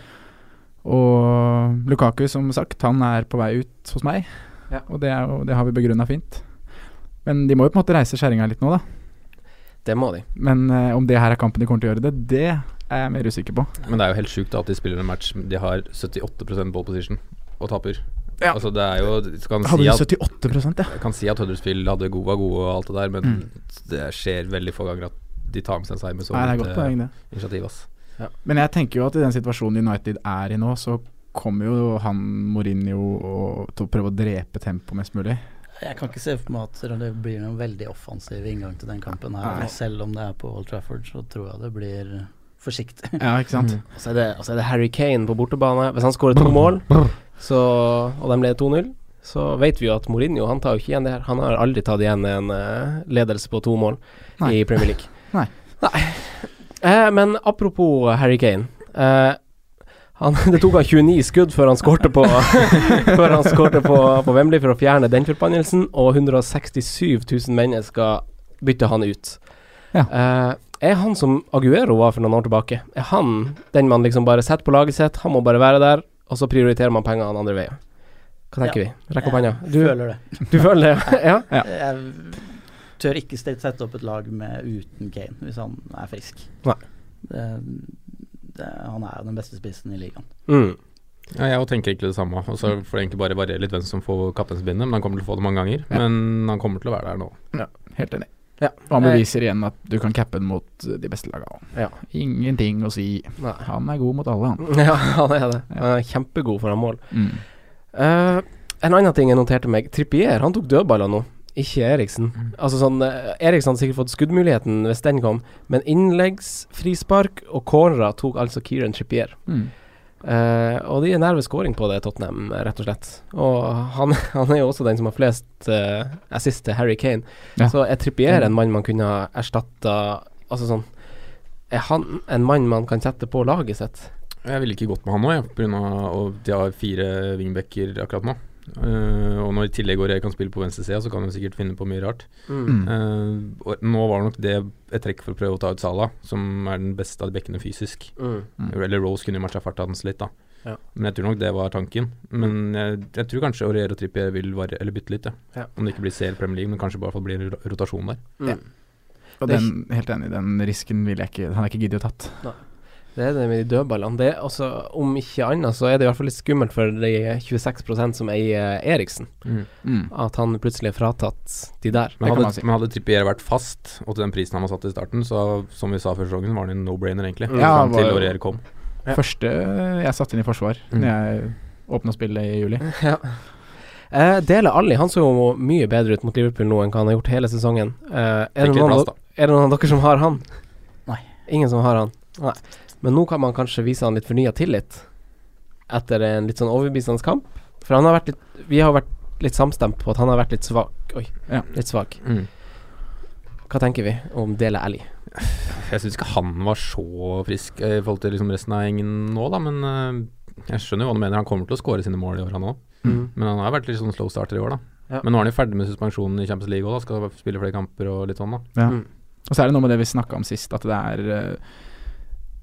Og Lukaku, som sagt, han er på vei ut hos meg, Ja. og det, er jo, det har vi begrunna fint. Men de må jo på en måte reise skjæringa litt nå, da. Det må de. Men eh, om det her er kampen de kommer til å gjøre det, det er jeg mer usikker på. Men det er jo helt sjukt da, at de spiller en match de har 78 ball position og taper. Ja. Altså det er jo du kan si, at, 78 ja? jeg kan si at Huddersfield hadde god, var gode og alt det der, men Mm. det skjer veldig få ganger at de tar med seg en seier med så Nei, det er lite godt poeng, det. initiativ. Ass. Men jeg tenker jo at i den situasjonen United er i nå, så kommer jo han Mourinho og, til å prøve å drepe tempoet mest mulig. Jeg kan ikke se for meg at det blir en veldig offensiv inngang til den kampen her. Nei. Selv om det er på Old Trafford, så tror jeg det blir forsiktig. Ja, ikke sant? Og så, er det, og så er det Harry Kane på bortebane. Hvis han skårer to mål, så, og de leder 2-0, så vet vi jo at Mourinho han tar jo ikke igjen det her. Han har aldri tatt igjen en eh, ledelse på to mål Nei. i Premier League. Nei. Nei. Eh, men apropos Harry Kane. Eh, han, det tok han 29 skudd før han skårte på Før han skårte på, på Wembley for å fjerne den forbannelsen, og 167 000 mennesker bytter han ut. Ja. Eh, er han som Aguero var for noen år tilbake? Er han den man liksom bare setter på laget sitt, han må bare være der, og så prioriterer man penger den andre veien? Hva tenker vi? Rekk opp hånda. Du, Jeg føler det. du føler det? ja? Ja. Jeg tør ikke st- sette opp et lag med uten Kane, hvis han er frisk. Nei. Det, det, han er jo den beste spissen i ligaen. Mm. Ja, jeg også tenker egentlig det samme. Og så Mm. får det egentlig bare variere litt hvem som får kapteinsbindet, men han kommer til å få det mange ganger. Ja. Men han kommer til å være der nå. Helt enig. Ja. Og han beviser igjen at du kan cappe den mot eh, de beste lagene. Ja. Ingenting å si. Nei. Han er god mot alle, han. ja, han er det. Han er kjempegod foran mål. Mm. Eh, en annen ting jeg noterte meg. Trippier han tok dødballer nå. ikke Eriksen. Mm. Altså sånn, eh, Eriksen hadde sikkert fått skuddmuligheten hvis den kom, men innleggsfrispark og cornerer tok altså Kieran Trippier. Mm. Eh, og de er nærme scoring på det, Tottenham, rett og slett. Og han, han er jo også den som har flest eh, assist til Harry Kane. Ja. Så jeg Trippier er en mann man kunne ha erstatta Altså sånn Er han en mann man kan sette på laget sitt? Jeg ville ikke gått med han nå, jeg, på grunn av og de har fire wingbacker akkurat nå. Eh, og når i tillegg Aurier kan spille på venstresida, så kan han sikkert finne på mye rart. Mm. Eh, og nå var nok det et trekk for å prøve å ta ut Salah, som er den beste av bekkene fysisk. Mm. Eller Rose kunne matcha farta hans litt, da. Ja. Men jeg tror nok det var tanken. Men jeg, jeg tror kanskje Aurier og Trippier vil varie, eller bytte litt, ja. Ja. Om det ikke blir CL Premier League, men kanskje bare for det blir en ro- rotasjon der. Og Mm. Det er den, helt enig, den risken vil jeg ikke Han er ikke giddet å tatt. Det er det med de dødballene. Det er altså, om ikke annet så er det i hvert fall litt skummelt for de 26 som eier eh, Eriksen, Mm. at han plutselig er fratatt de der. Det Men kan hadde, man si. men hadde Trippier vært fast, og til den prisen han var satt i starten, så som vi sa før sesongen, var det en no-brainer, egentlig. Ja, Fram var til jo- Aurier kom. Ja. Første jeg satte inn i forsvar Mm. Når jeg åpna spillet i juli. Ja. Eh, Dele Alli han så jo mye bedre ut mot Liverpool nå enn hva han har gjort hele sesongen. Eh, er, det Fikk litt noen, plass, av- da. er det noen av dere som har han? Nei. Ingen som har han? Nei. Men nå kan man kanskje vise han litt fornya tillit etter en litt sånn overbevisende kamp. For han har vært litt Vi har vært litt samstemt på at han har vært litt svak. Oi, Ja. litt svak. Mm. Hva tenker vi om Dele Alli? Jeg syns ikke han var så frisk eh, i forhold til liksom resten av gjengen nå, da, men eh, jeg skjønner jo hva du mener. Han kommer til å skåre sine mål i år, han òg. Mm. Men han har vært litt sånn slow starter i år, da. Ja. Men nå er han jo ferdig med suspensjonen i Champions League òg, da. Skal spille flere kamper og litt sånn, da. Ja. Mm. Og så er det noe med det vi snakka om sist, at det er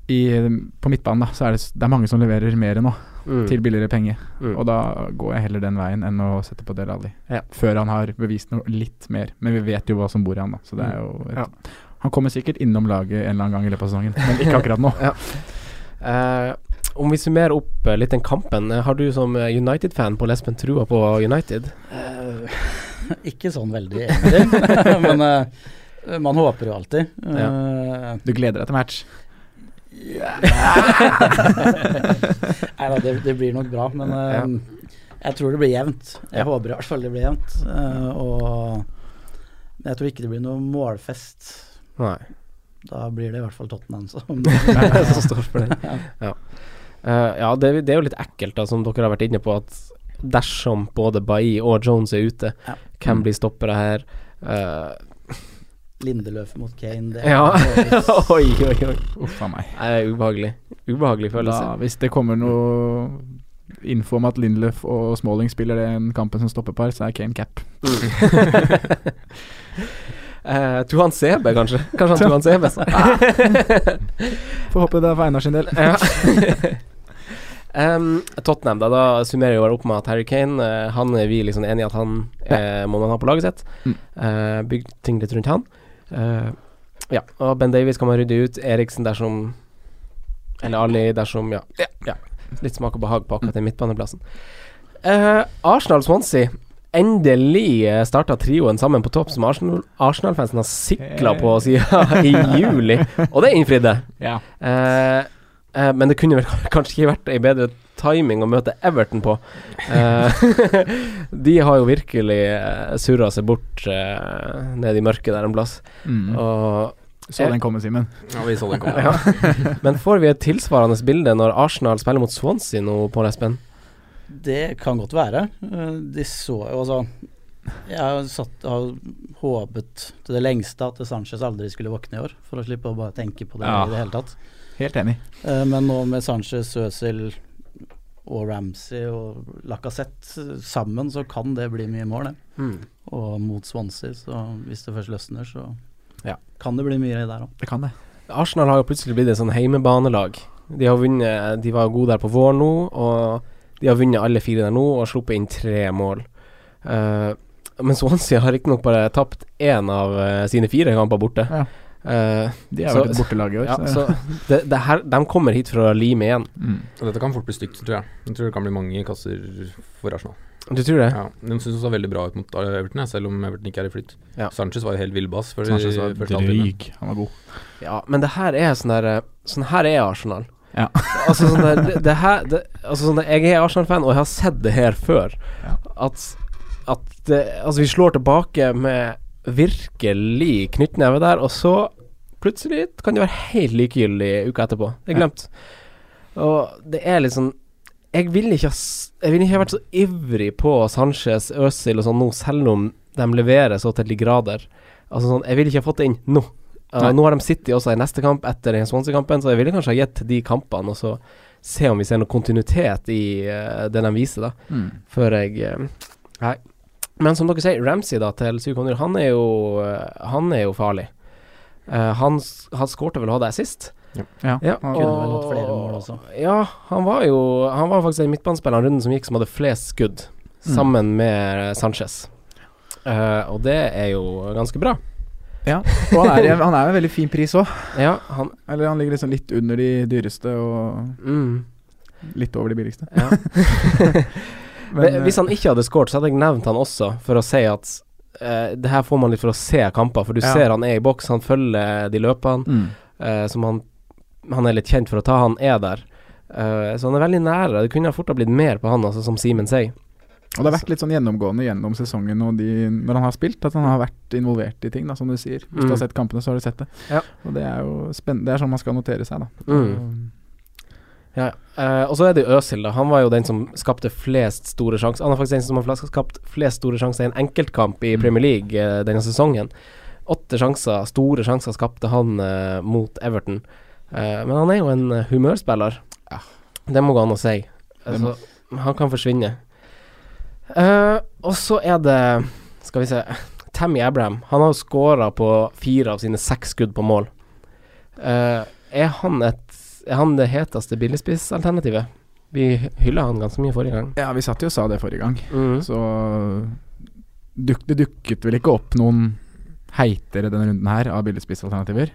eh, i, På midtbanen da, så er det, s- det er mange som leverer mer nå, Mm. til billigere penger. Mm. Og da går jeg heller den veien enn å sette på Del Alli. Ja. Før han har bevist noe litt mer. Men vi vet jo hva som bor i han, da. Så det er jo et, Ja. Han kommer sikkert innom laget en eller annen gang i løpet av sesongen, men ikke akkurat nå. Eh, om vi summerer opp eh, litt den kampen, eh, har du som eh, United-fan på Lesben trua på United? Eh, ikke sånn veldig, egentlig. Men eh, man håper jo alltid. Eh, Du gleder deg til match. Nei da, det, det blir nok bra, men eh, jeg tror det blir jevnt. Jeg håper i hvert fall det blir jevnt. eh, og men jeg tror ikke det blir noe målfest. Nei. Da blir det i hvert fall Tottenham som Som står for det. Ja, Eh, ja det, er- det er jo litt ekkelt, da, som dere har vært inne på, at dersom både Bailly og Jones er ute, Ja. Mm. hvem blir stoppere her? Eh, Lindeløf mot Kane. Det ja. oi, oi, oi. Uff a meg. Nei, det er ubehagelig. Ubehagelig Da, følelse. hvis det kommer noe info om at Lindlöf og Smalling spiller den kampen som stoppepar, så er Kane cap. Eh, Tuhan Sebe, kanskje? Kanskje han Tuhan Sebe? Får håpe det er for Einar sin del. Ja. eh, Em, Tottenham, da, da summerer vi bare opp med at Harry Kane eh, Han er vi liksom enige i at han eh, må man ha på laget sitt. Mm. Eh, bygg ting litt rundt han. Eh, ja, og Ben Davies kan man rydde ut. Eriksen dersom Eller Ali dersom, ja. ja. Litt smak og behag på akkurat den midtbaneplassen. Eh, Arsenal-Swansea. Endelig eh, starta trioen sammen på topp, som Arsenal- Arsenal-fansen har sikla på siden i juli. Og det innfridde. Ja. Eh, eh, men det kunne vel kanskje ikke vært ei bedre timing å møte Everton på. Eh, de har jo virkelig eh, surra seg bort eh, ned i mørket der en plass. Mm. Og, Så den komme, Simen. Ja, vi så den komme. ja. Men får vi et tilsvarende bilde når Arsenal spiller mot Swansea nå, Pål Espen? Det kan godt være. Eh, De så jo altså Jeg har jo satt, har jo håpet til det lengste at Sanchez aldri skulle våkne i år, for å slippe å bare tenke på det Ja. i det hele tatt. Helt enig. Eh, Men nå med Sanchez, Øzil og Ramsey og Lacassette sammen, så kan det bli mye mål, det. Og mot Swansea, så hvis det først løsner, så Ja. kan det bli mye der òg. Det kan det. Arsenal har jo plutselig blitt et sånn heimebanelag. De har vunnet De var gode der på vår nå, og de har vunnet alle fire der nå og sluppet inn tre mål. Eh, men Swansea har riktignok bare tapt én av eh, sine fire kamper borte. Ja. Eh, De har Så- vært et bortelag i år. ja, så- så det, det her, de kommer hit for å lime igjen. Mm. Og dette kan fort bli stygt, tror jeg. Jeg tror det kan bli mange kasser for Arsenal. Du tror det? Ja, de syns det så veldig bra ut mot Everton, jeg, selv om Everton ikke er i flytt. Ja. Sanchez var jo helt villbass. før- Sanchez var første halvtime. dryg. Han var god. Ja, men det her er sånn der eh, Sånn her er Arsenal. Ja. altså sånn der, det, det her det, Altså sånn der, Jeg er Arsenal-fan, og jeg har sett det her før. Ja. At at det, Altså, vi slår tilbake med virkelig knyttneve der, og så plutselig kan det være helt likegyldig uka etterpå. Det er glemt. Og det er liksom Jeg ville ikke ha s- Jeg ville ikke ha vært så ivrig på Sanchez, Øzil og sånn nå, selv om de leverer så til de grader. Altså sånn Jeg ville ikke ha fått det inn nå. Uh, Nei. nå har de City også i neste kamp etter den Swansea-kampen, så jeg ville kanskje ha gitt de kampene, og så se om vi ser noe kontinuitet i eh, det de viser, da Mm. før jeg eh, Nei. Men som dere sier, Ramsey da til Sukonur, han er jo eh, Han er jo farlig. Eh, han s- han skårte vel å ha det sist? Ja. han kunne vel hatt flere mål også. Ja, han var jo Han var faktisk den midtbanespilleren i runden som gikk som hadde flest skudd, Mm. sammen med eh, Sanchez. Eh, og det er jo ganske bra. ja. Og han er, i en- han er jo en veldig fin pris òg. Ja, han Eller han ligger liksom litt under de dyreste og mm, litt over de billigste. ja. Men, eh, Hvis han ikke hadde skåret, så hadde jeg nevnt han også, for å si at eh, det her får man litt for å se kamper, for du Ja. ser han er i boks, han følger de løpene. mm. eh, som han, han er litt kjent for å ta. Han er der. Eh, så han er veldig nære. Det kunne fort ha blitt mer på han, altså, som Simen sier. Og det har vært litt sånn gjennomgående gjennom sesongen og de, når han har spilt, at han har vært involvert i ting, da, som du sier. Hvis du Mm. har sett kampene, så har du sett det. Ja. Og det er jo spennende. Det er sånn man skal notere seg, da. Mm. Ja. Eh, og så er det jo Øsil, da. Han var jo den som skapte flest store sjanser. Han er faktisk den som har flas- skapt flest store sjanser i en enkeltkamp i Mm. Premier League eh, denne sesongen. Åtte sjanser, store sjanser, skapte han eh, mot Everton. Eh, men han er jo en eh, humørspiller. Ja. Det må gå an å si. Altså, han kan forsvinne. Eh, og så er det Skal vi se Tammy Abraham. Han har jo skåra på fire av sine seks skudd på mål. Eh, er han et er han det heteste billigspissalternativet? Vi hylla han ganske mye forrige gang. Ja, vi satt jo og sa det forrige gang. Mm. Så duk, det dukket vel ikke opp noen heitere denne runden her av billigspissalternativer?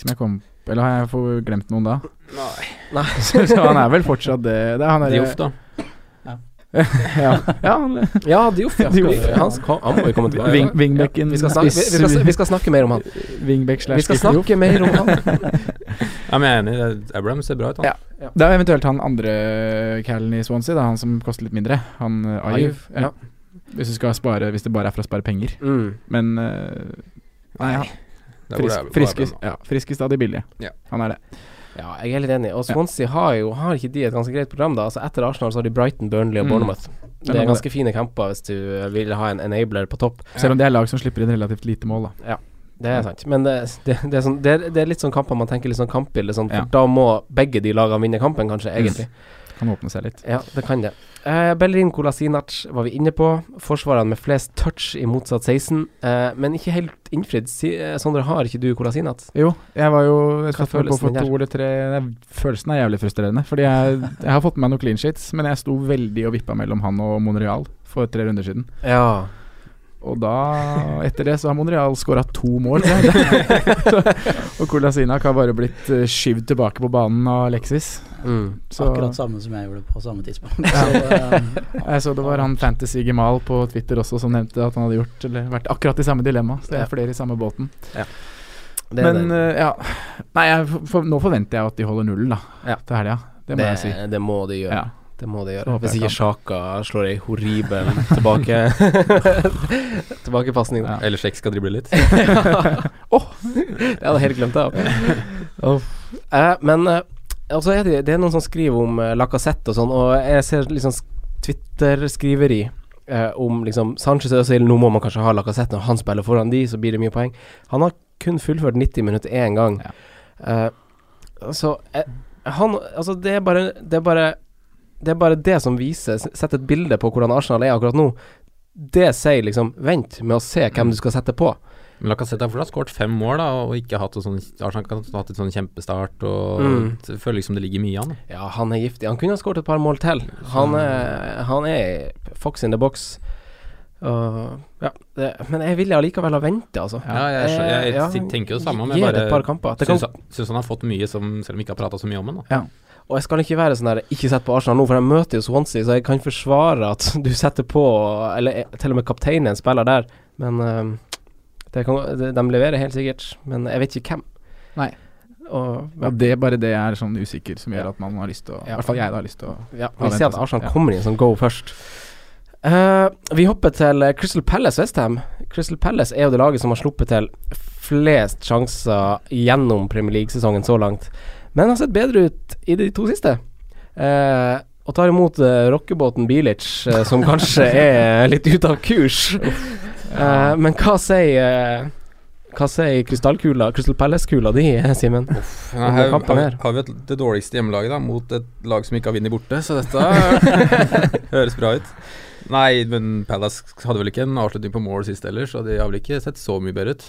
Som jeg kom Eller har jeg for- glemt noen da? Nei. Så, så han er vel fortsatt det. det er han er, Dioff, da. ja, ja, han, Ja, Dioff, ja. Dioff, Skal vi- Han, skal, han må vi komme tilbake Wing- wingbacken- Ja, vi, skal snakke, vi, vi, skal, vi skal snakke mer om han. Wingback Vi slash skal skipper. snakke mer om han. Ja, men jeg er enig. det er- Abraham ser bra ut, han. Ja. Det er jo eventuelt han andre callen i Swansea, da, han som koster litt mindre. Han eh, Ayew. Ayew, ja. Ja. Hvis, du skal spare, hvis det bare er for å spare penger. Mm. Men eh, Nei, han, Det er hvor det er- hvor frisk, er Abraham, friskest, da. ja, friskest av de billige. Ja. Han er det. Ja, jeg er litt enig. Og Swansea har jo Har ikke de et ganske greit program, da? Altså Etter Arsenal så har de Brighton, Burnley og Mm. Bournemouth. Det noe er med ganske fine kamper hvis du vil ha en enabler på topp. Selv om det er lag som slipper inn relativt lite mål, da. Det er sant. Men det, det, det, er, sånn, det, er, det er litt sånn kamper man tenker litt sånn kampbilde sånn, for Ja. da må begge de lagene vinne kampen, kanskje, egentlig. Kan åpne seg litt. Ja, det kan det. Eh, Bellerin Kolasinac var vi inne på. Forsvarerne med flest touch i motsatt 16, eh, men ikke helt innfridd. Si, eh, Sondre, har ikke du Kolasinac? Jo, jeg var jo jeg Hva satt vel følelsen på for din er? to eller tre nei, Følelsen er jævlig frustrerende. Fordi jeg, jeg har fått med meg noen clean sheets, men jeg sto veldig og vippa mellom han og Monreal for tre runder siden. Ja. Og da, etter det, så har Monreal skåra to mål. tror jeg. Så- og Kolasinac har bare blitt eh, skyvd tilbake på banen av Alexis. Mm. Så, Akkurat samme som jeg gjorde på samme tidspunkt. Så, eh, jeg så det var han Fantasy Gemal på Twitter også som nevnte at han hadde gjort Eller vært akkurat i samme dilemma. Så det Ja. er flere i samme båten. Det er Men det. eh, ja Nei, jeg, for, nå forventer jeg at de holder nullen, da. Ja. Til helga. Det må jeg si. det, det må de gjøre. Ja. Det må de Så gjøre. håper Hvis jeg ikke Sjaka slår ei horribel tilbake tilbakepasning. Ja. Eller Sjekk skal drible litt. Åh, jeg hadde helt glemt det. ja. Eh, men eh, altså er det, det er noen som skriver om uh, Lacassette og sånn, og jeg ser liksom sk- Twitter-skriveri eh, om liksom Sanchez og Øzil, nå må man kanskje ha Lacassette, når han spiller foran de, så blir det mye poeng. Han har kun fullført 90 minutter én gang. Ja. Eh, så eh, han Altså, det er bare Det er bare det, er bare det som viser Sett et bilde på hvordan Arsenal er akkurat nå. Det sier liksom Vent med å se hvem du skal sette på. Men Lacassette har fortsatt skåret fem mål da, og ikke hatt, noe sånn, Arsenal har ikke hatt et sånn kjempestart. Og Mm. Jeg føler liksom det ligger mye i han. da. Ja, han er giftig. Han kunne ha skåret et par mål til. Han er, han er fox in the box. Og, ja, det, men jeg ville allikevel ha venta, altså. Ja, jeg, skjønner, jeg, Eh, ja, tenker jo det samme, men gi jeg det et par bare kamper. Det kan, syns, han- syns han har fått mye, som, selv om vi ikke har prata så mye om han. da. og jeg skal ikke være sånn der Ikke sett på Arsenal nå, for jeg møter jo Swansea, så jeg kan forsvare at du setter på Eller eh, til og med kapteinen en spiller der, men eh, det kan, de, de leverer helt sikkert. Men jeg vet ikke hvem. Nei. Og, Ja, det er bare det jeg er sånn usikker som Ja. gjør at man har lyst til å I Ja. hvert fall jeg da har lyst til å Ja, Ja, vi ser at vent, Arsenal ja. kommer inn som go først. Eh, Eh, vi hopper til eh, Crystal Palace Westham. Crystal Palace er jo det laget som har sluppet til flest sjanser gjennom Premier League-sesongen så langt, men har sett bedre ut i de to siste. Eh, og tar imot eh, rockebåten Bilic, eh, som kanskje er litt ute av kurs. Eh, men hva sier eh, Hva sier krystallkula, Crystal Palace-kula di, Simen? Nei, Hvor mange her kamper har, mer? har vi et, det dårligste hjemmelaget da, mot et lag som ikke har vunnet borte, så dette høres bra ut. Nei, men Palace hadde vel ikke en avslutning på mål sist heller, så de har vel ikke sett så mye bedre ut.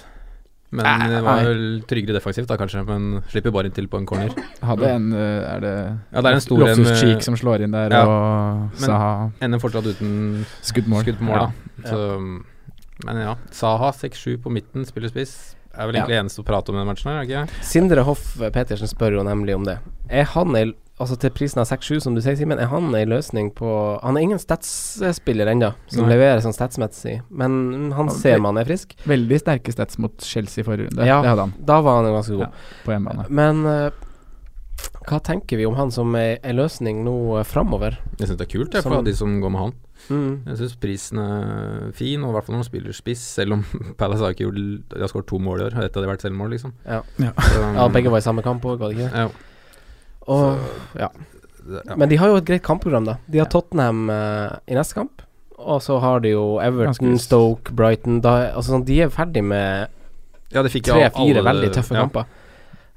Men Nei, det var nei. vel tryggere defensivt da, kanskje, men slipper bare inntil på en corner. Hadde en eh, Er det Ja, det er en stor en Loftus med- Cheek som slår inn der, Ja. og Men- Saha Ender fortsatt uten skudd mål. skudd på mål, Ja. da. Så, men ja, Saha 6-7 på midten, spiller spiss. Er vel egentlig eneste å prate om i denne matchen her, er det ikke? Sindre Hoff Petersen spør jo nemlig om det. Er han ei Altså til prisen av 6-7, som du sier, Simen, er han ei løsning på Han er ingen statsspiller ennå, som Nei. leverer sånn statsmessig, men mm, han Han ser ble- man er frisk. Veldig sterke stats mot Chelsea i forrige runde. Ja. Det hadde han Da var han jo ganske god. på hjemmebane. Men eh, hva tenker vi om han som ei ei løsning nå eh, framover? Jeg syns det er kult, jeg, Som- for de som går med han. Mm. Jeg syns prisen er fin, og i hvert fall når han spiller spiss, selv om Palace har ikke gjort De har skåret to mål i år, og ett av de har vært selvmål, liksom. Ja. Ja. Så, Ja, begge var i samme kamp òg, var det ikke det? ja, Og, det- ja. Men de har jo et greit kampprogram, da. De har Tottenham eh, i neste kamp. Og så har de jo Everton, Ganske- Stoke, Brighton da, altså, sånn, De er ferdig med ja, det fikk jeg av tre-fire alle- veldig tøffe ja. kamper.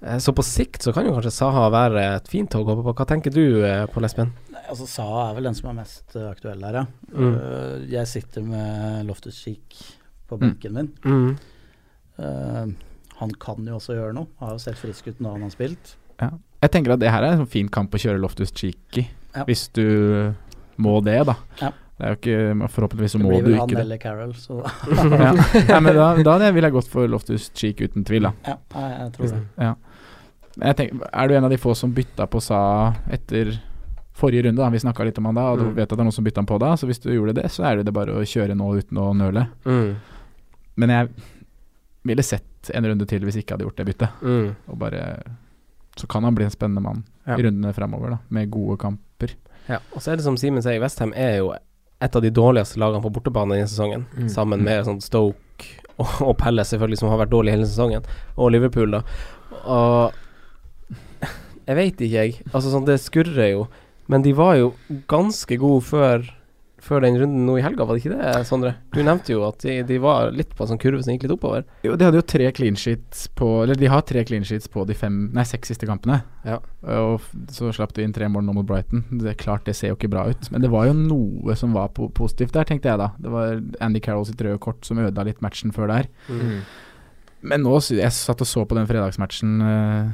Eh, Så på sikt så kan jo kanskje Saha være et fint tog å hoppe på. Hva tenker du, eh, Pål Espen? Nei, altså Saha er vel den som er mest eh, aktuell her, ja. Mm. Eh, jeg sitter med Loftus Cheek på Mm. benken min. Mm. Eh, han kan jo også gjøre noe. Har jo sett frisk ut når han har spilt. Jeg tenker at det her er en sånn fin kamp å kjøre Loftus Cheek i, Ja. hvis du må det, da. Ja. Det er jo ikke men Forhåpentligvis så Det må blir du vel han ikke det. eller Carroll, så ja. Nei, men da, da hadde jeg- ville jeg gått for Loftus Cheek uten tvil, da. ja, nei, jeg tror det. Men Jeg tenker, er du en av de få som bytta på Sa etter forrige runde? da Vi snakka litt om han da, og du Mm. vet at det er noen som bytta han på da. Så hvis du gjorde det, så er det det bare å kjøre nå uten å nøle. Mm. Men jeg ville sett en runde til hvis jeg ikke hadde gjort det byttet. Mm. Og bare Så kan han bli en spennende mann Ja. i rundene fremover, da, med gode kamper. Og så er det som Simen sier, Westham er jo et av de dårligste lagene på bortebane denne sesongen. Mm. Sammen med sånn Stoke og, og Palace, selvfølgelig, som har vært dårlig hele sesongen. Og Liverpool, da. Og Jeg veit ikke, jeg. Altså, sånn, det skurrer jo. Men de var jo ganske gode før, før den runden nå i helga, var det ikke det, Sondre? Du nevnte jo at de, de var litt på en sånn kurve som gikk litt oppover. Jo, de hadde jo tre clean sheets på Eller de har tre clean sheets på de fem Nei, seks siste kampene. Ja. Og f- så slapp de inn tre mål nå mot Brighton. Det er klart, det ser jo ikke bra ut. Men det var jo noe som var po positivt der, tenkte jeg da. Det var Andy Carroll sitt røde kort som ødela litt matchen før der. Mm. Men nå sy- Jeg satt og så på den fredagsmatchen, eh,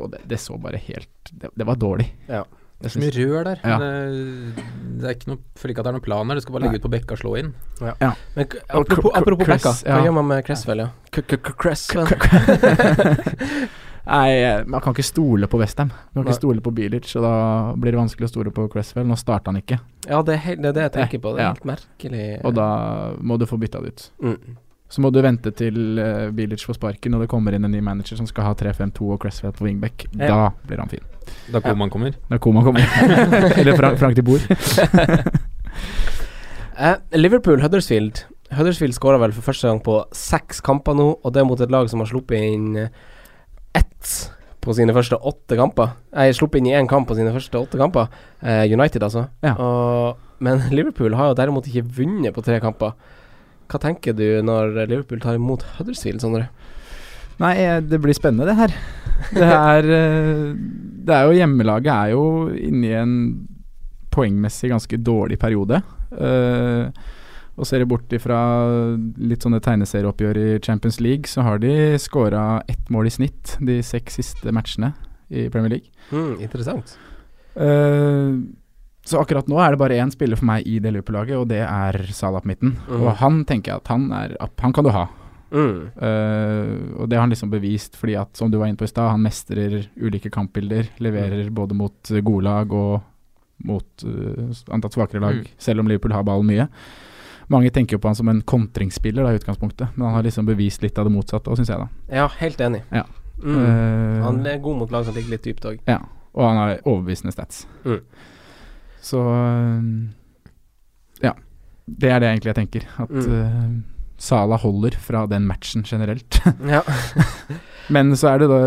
og det, det så bare helt Det, det var dårlig. Ja. Det er Jeg så mye syns- rør der. Ja. Det, det er ikke noe, føler ikke at det er noen plan her. Du skal bare legge ut på bekka og slå inn. Men k- Og apropos, Cr- Cr- apropos Cress, Becka, hva ja. gjør man med Cresswell, ja? Cresswell. Nei, eh, man kan ikke stole på Westham. Man kan Nei. ikke stole på Bilic, og da blir det vanskelig å stole på Cresswell. Nå starta han ikke, Ja, det er, helt, det er det jeg tenker på. Det er Ja. helt merkelig. og da må du få bytta det ut. Mm. Så må du vente til eh, Bilic får sparken og det kommer inn en ny manager som skal ha 3-5-2 og Cresswell på wingback. Ja. Da blir han fin. Da Koman kommer. Når Koma kommer. Eller Frank, Frank de Boer. Eh, Liverpool Huddersfield. Huddersfield skåra vel for første gang på seks kamper nå, og det er mot et lag som har sluppet inn eh, ett på sine første åtte kamper. Nei, sluppet inn i én kamp på sine første åtte kamper. Eh, United, altså. Ja. Og, men Liverpool har jo derimot ikke vunnet på tre kamper. Hva tenker du når Liverpool tar imot Huddersfield, Sondre? Nei, eh, det blir spennende, det her. Det er, eh, det er jo Hjemmelaget er jo inne i en poengmessig ganske dårlig periode. Eh, og ser jeg bort ifra litt sånne tegneserieoppgjør i Champions League, så har de skåra ett mål i snitt de seks siste matchene i Premier League. Mm, interessant. Eh, så akkurat nå er det bare én spiller for meg i det Liverpool-laget, og det er Salah på midten. Mhm. Og han tenker jeg at han er up- Han kan du ha. Mm. Eh, og det har han liksom bevist, fordi at som du var inne på i stad, han mestrer ulike kampbilder. Mm. Leverer både mot eh, gode lag og mot eh, antatt svakere lag, Mm. selv om Liverpool har ballen mye. Mange tenker jo på han som en kontringsspiller da, i utgangspunktet, men han har liksom bevist litt av det motsatte òg, syns jeg, da. Ja, helt enig. Ja. Mm. Eh, Han er god mot lag som ligger litt dypt òg. Ja, og han har overbevisende stats. Mm. Så øh, Det er det egentlig jeg tenker. At Mm. eh, Sala holder fra den matchen generelt. Ja. Men så er det da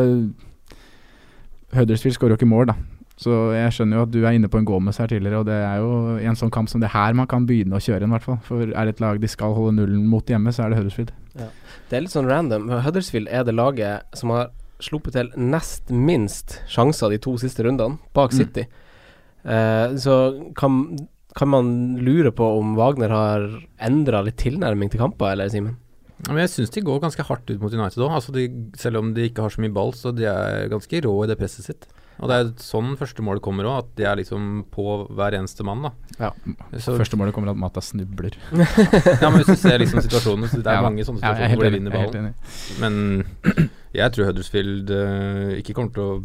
Huddersfield skårer jo ikke mål, da. Så jeg skjønner jo at du er inne på en Gomez her tidligere, og det er jo i en sånn kamp som det her man kan begynne å kjøre en, i hvert fall. For er det et lag de skal holde nullen mot hjemme, så er det Huddersfield. Det er litt sånn random. men Huddersfield er det laget som har sluppet til nest minst sjanser de to siste rundene, bak Mm. City. Eh, så kan, kan man lure på om Wagner har endra litt tilnærming til kamper, eller, Simen? Ja, men jeg syns de går ganske hardt ut mot United òg. Altså de- selv om de ikke har så mye ball, så de er ganske rå i det presset sitt. Og det er sånn første mål kommer òg, at de er liksom på hver eneste mann, da. Ja. Så, Første målet kommer at Mata snubler. ja, men hvis du ser liksom situasjonen, så det er Ja, mange sånne Ja, jeg situasjoner er helt hvor de enig, vinner jeg er helt ballen. enig. Men jeg tror Huddersfield eh, ikke kommer til å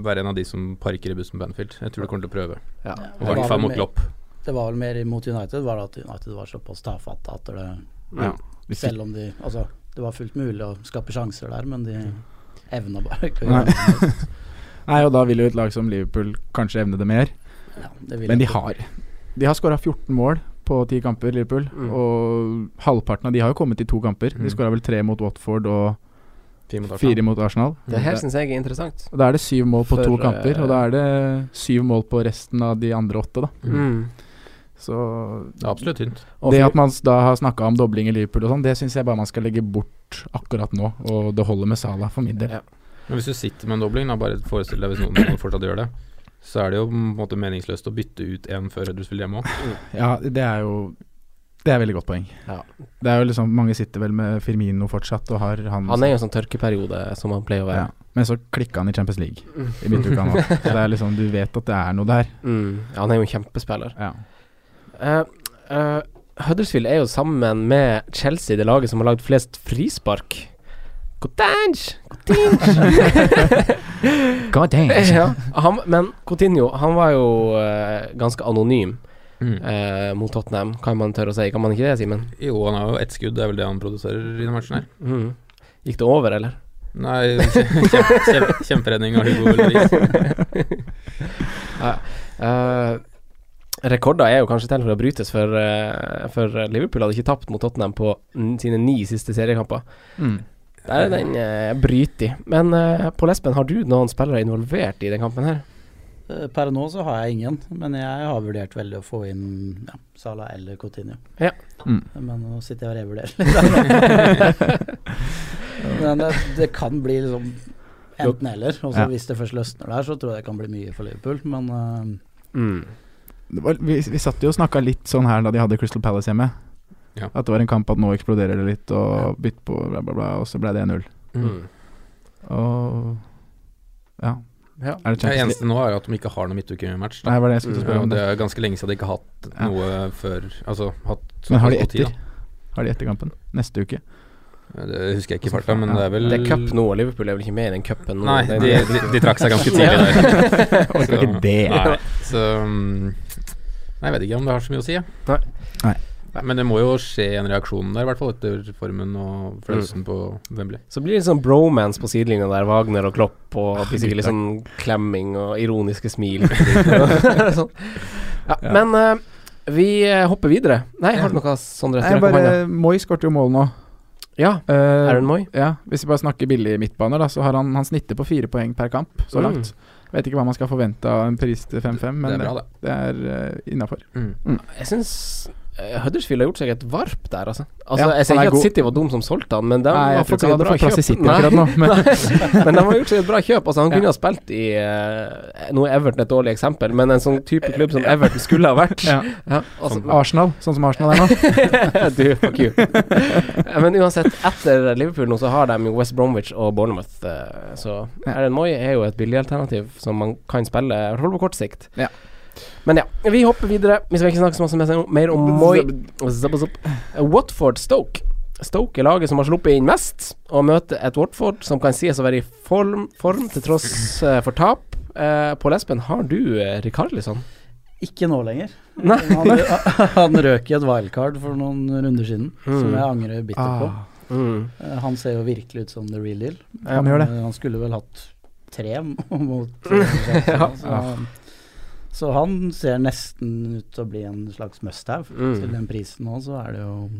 være en av de som parker i bussen på Anfield. Jeg tror de kommer til å prøve. Ja. I Det var hvert fall vel mot mer- Klopp. Det var vel mer imot United, var det at United var såpass tafatte at det Ja. Vi fikk- Selv om de Altså, det var fullt mulig å skape sjanser der, men de evna bare ikke å Nei. gjøre noe. Nei, og da vil jo et lag som Liverpool kanskje evne det mer. Ja, det vil Men de jeg ikke. har De har skåra 14 mål på ti kamper, Liverpool. Mm. Og halvparten av de har jo kommet i to kamper. Mm. De skåra vel tre mot Watford og Fire mot Arsenal. fire mot Arsenal. Det her syns jeg er interessant. Og Da er det syv mål på For, to eh, kamper, og da er det syv mål på resten av de andre åtte, da. Mm. Mm. Så Det er absolutt tynt. Og det for- at man s- da har snakka om dobling i Liverpool og sånn, det syns jeg bare man skal legge bort akkurat nå. Og det holder med Salah for min del. Ja. Men hvis du sitter med en dobling, da bare forestill deg hvis noen fortsatt gjør det, så er det jo på en måte meningsløst å bytte ut en før Huddersfield hjemme òg. Ja, det er jo Det er veldig godt poeng. Ja. Det er jo liksom Mange sitter vel med Firmino fortsatt og har han Han er jo en sånn tørkeperiode som han pleier å være. Ja. Men så klikka han i Champions League Mm. i midtuka nå. Så det er liksom, du vet at det er noe der. Mm. Han er jo en kjempespiller. Ja. Eh, eh, Huddersfield er jo sammen med Chelsea det laget som har lagd flest frispark. Cotange! God ja, han, men Coutinho, han var jo eh, ganske anonym Mm. eh, mot Tottenham, kan man tørre å si. Kan man ikke det, Simen? Jo, han har jo ett skudd, det er vel det han produserer i denne matchen her. Mm. Gikk det over, eller? Nei, kjempe, kjempe, kjemperedning av Hugo Lloris. Eh, rekorder er jo kanskje til for å brytes, for, eh, for Liverpool hadde ikke tapt mot Tottenham på n sine ni siste seriekamper. Mm. Der er den uh, brytig. Men eh, Pål Espen, har du noen spillere involvert i den kampen her? Eh, Per nå så har jeg ingen, men jeg har vurdert veldig å få inn ja, Salah eller Coutinho. Ja. Mm. Men nå sitter jeg og revurderer litt. men det, det kan bli liksom enten eller. Og så Ja. hvis det først løsner der, så tror jeg det kan bli mye for Liverpool. Men eh, Mm. Det var, vi, vi satt jo og snakka litt sånn her da de hadde Crystal Palace hjemme. Ja. At det var en kamp at nå eksploderer det litt, og bytt på bla, bla, bla, og så ble det 1-0. Mm. Og Ja. Ja. Er Det det Champions League? eneste nå er jo at de ikke har noen midtukematch. da. Nei, var det jeg skulle Ja, spørre og om. det Det. er ganske lenge siden de ikke har hatt Ja. noe før Altså hatt Men har de såpass god tid, etter? Har de etter kampen? Neste uke? da. Det husker jeg ikke i farta, men Ja. det er vel Det er cup nå, og Liverpool er vel ikke med i den cupen nå? Nei, Det er- de, de, de trakk seg ganske tidlig der. Orker ikke det. Nei, så mm, Nei, jeg vet ikke om det har så mye å si, jeg. Nei. Nei. Men det må jo skje en reaksjon der, i hvert fall etter formen og følelsen på Wembley. Så blir det litt sånn bromance på sidelinja der, Wagner og Klopp, og Ah, det blir sikkert litt gutta. sånn klemming og ironiske smil. sånn. ja, Ja. Men eh, vi eh, hopper videre. Nei, har du noe sånn rett Nei, i hånda? bare Moi skåret jo mål nå. Ja, Eh, Aaron Moy. Ja, Hvis vi bare snakker billig midtbaner, da, så har han, han snittet på fire poeng per kamp så Mm. langt. Vet ikke hva man skal forvente av en pris til 5-5, men det er bra, det. det er uh, innafor. Mm. Jeg syns eh, Huddersfield har gjort seg et varp der, altså. altså Ja, jeg sier han er ikke god. at City var dum som solgte han, men de Nei, jeg har tror fått ikke seg et han hadde bra fått plass i kjøp. City akkurat nå, men Nei, men de har gjort seg et bra kjøp. Altså, han Ja. kunne ha spilt i eh, Nå er Everton et dårlig eksempel, men en sånn type klubb som Everton skulle ha vært. ja. Ja, altså, Som Arsenal, sånn som Arsenal er nå. du, fuck you. Men uansett, etter Liverpool nå så har de jo West Bromwich og Bournemouth. eh, Så Aaron Moy er jo et billig alternativ som man kan spille i hvert fall på kort sikt. Ja. Men ja, vi hopper videre. Vi skal ikke snakke så masse mer om Moy. Zapp, zapp. Eh, Watford Stoke. Stoke er laget som har sluppet inn mest, og møter et Watford som kan sies å være i form, form til tross eh, for tap. Uh, Pål Espen, har du uh, Rikarlison? ikke nå lenger. Nei. Han, han røk i et wildcard for noen runder siden, som jeg angrer bittert på. Mm. Ah, Mm. Eh, Han ser jo virkelig ut som the real deal. han gjør det. Mm. Eh, Han skulle vel hatt tre mot eh, Jackson, Ja. så, Så han ser nesten ut til å bli en slags must-have. Mm. Til den prisen nå, så er det jo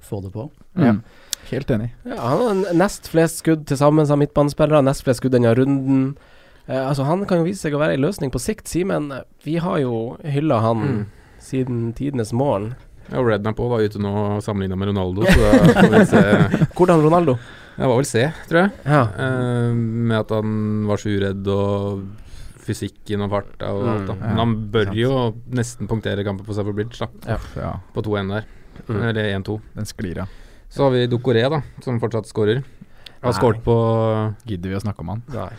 få det på. Ja. Mm. Helt enig. Ja, han har n- nest flest skudd til sammen som midtbanespillere, nest flest skudd denne runden. Eh, altså Han kan jo vise seg å være en løsning på sikt, Simen. eh, Vi har jo hylla han Mm. siden tidenes morgen. Ja, Rednapo var ute nå sammenligna med Ronaldo, så da får vi se. Hvordan Ronaldo? Det var vel C, tror jeg. Ja. Eh, med at han var så uredd og fysikken og farta og alt. Da. Mm, ja. Men han bør Sant. jo nesten punktere kampen på Stafford Bridge, da. Ja. Uff, ja. På 2-1 der. Mm. Eller 1-2. Den sklir av. Så har vi Dokoré, da, som fortsatt skårer. Han har Nei. skåret på Gidder vi å snakke om han? Nei.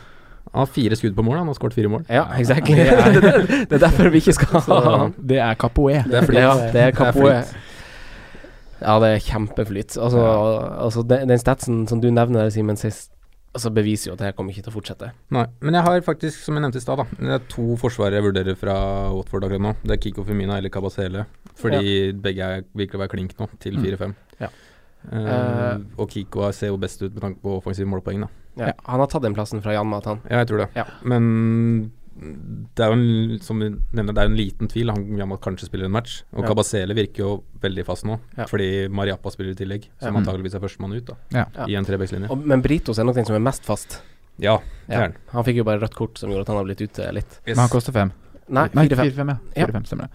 Han har fire skudd på mål, han har skåret fire mål. Ja, exactly. Det er, det er derfor vi ikke skal ha han. Det er Capoe. Det er flyt. Ja, det er Det er Kapoe. Ja, det er kjempeflyt. Altså, altså den, den statsen som du nevner, Simen, sist, altså beviser jo at det her kommer ikke til å fortsette. Nei, men jeg har faktisk, som jeg nevnte i stad, da Det er to forsvarere jeg vurderer fra Watford akkurat nå. Det er Kiko Femina eller Kabasele. Fordi begge er, virker å være klink nå, til Mm. 4-5. Ja. Eh, og Kiko er- ser jo best ut med tanke på offensive målpoeng, da. Ja. Han har tatt den plassen fra Jan Matan. Ja, jeg tror det. Ja. Men det er jo en, som vi nevner, det er jo en liten tvil. Han Jamal kanskje spiller en match. Og Ja. Kabasele virker jo veldig fast nå, Ja. fordi Mariappa spiller i tillegg. Som Ja. antageligvis er førstemann ut, da. Ja. Ja. I en trebekslinje. Og- Men Britos er nok den som er mest fast. Ja, det Ja. er han. Han fikk jo bare rødt kort som gjorde at han har blitt ute litt. Yes. Men han koster fem. Nei, Nei, 4-5. fire-fem, ja. Ja. Fire-fem, stemmer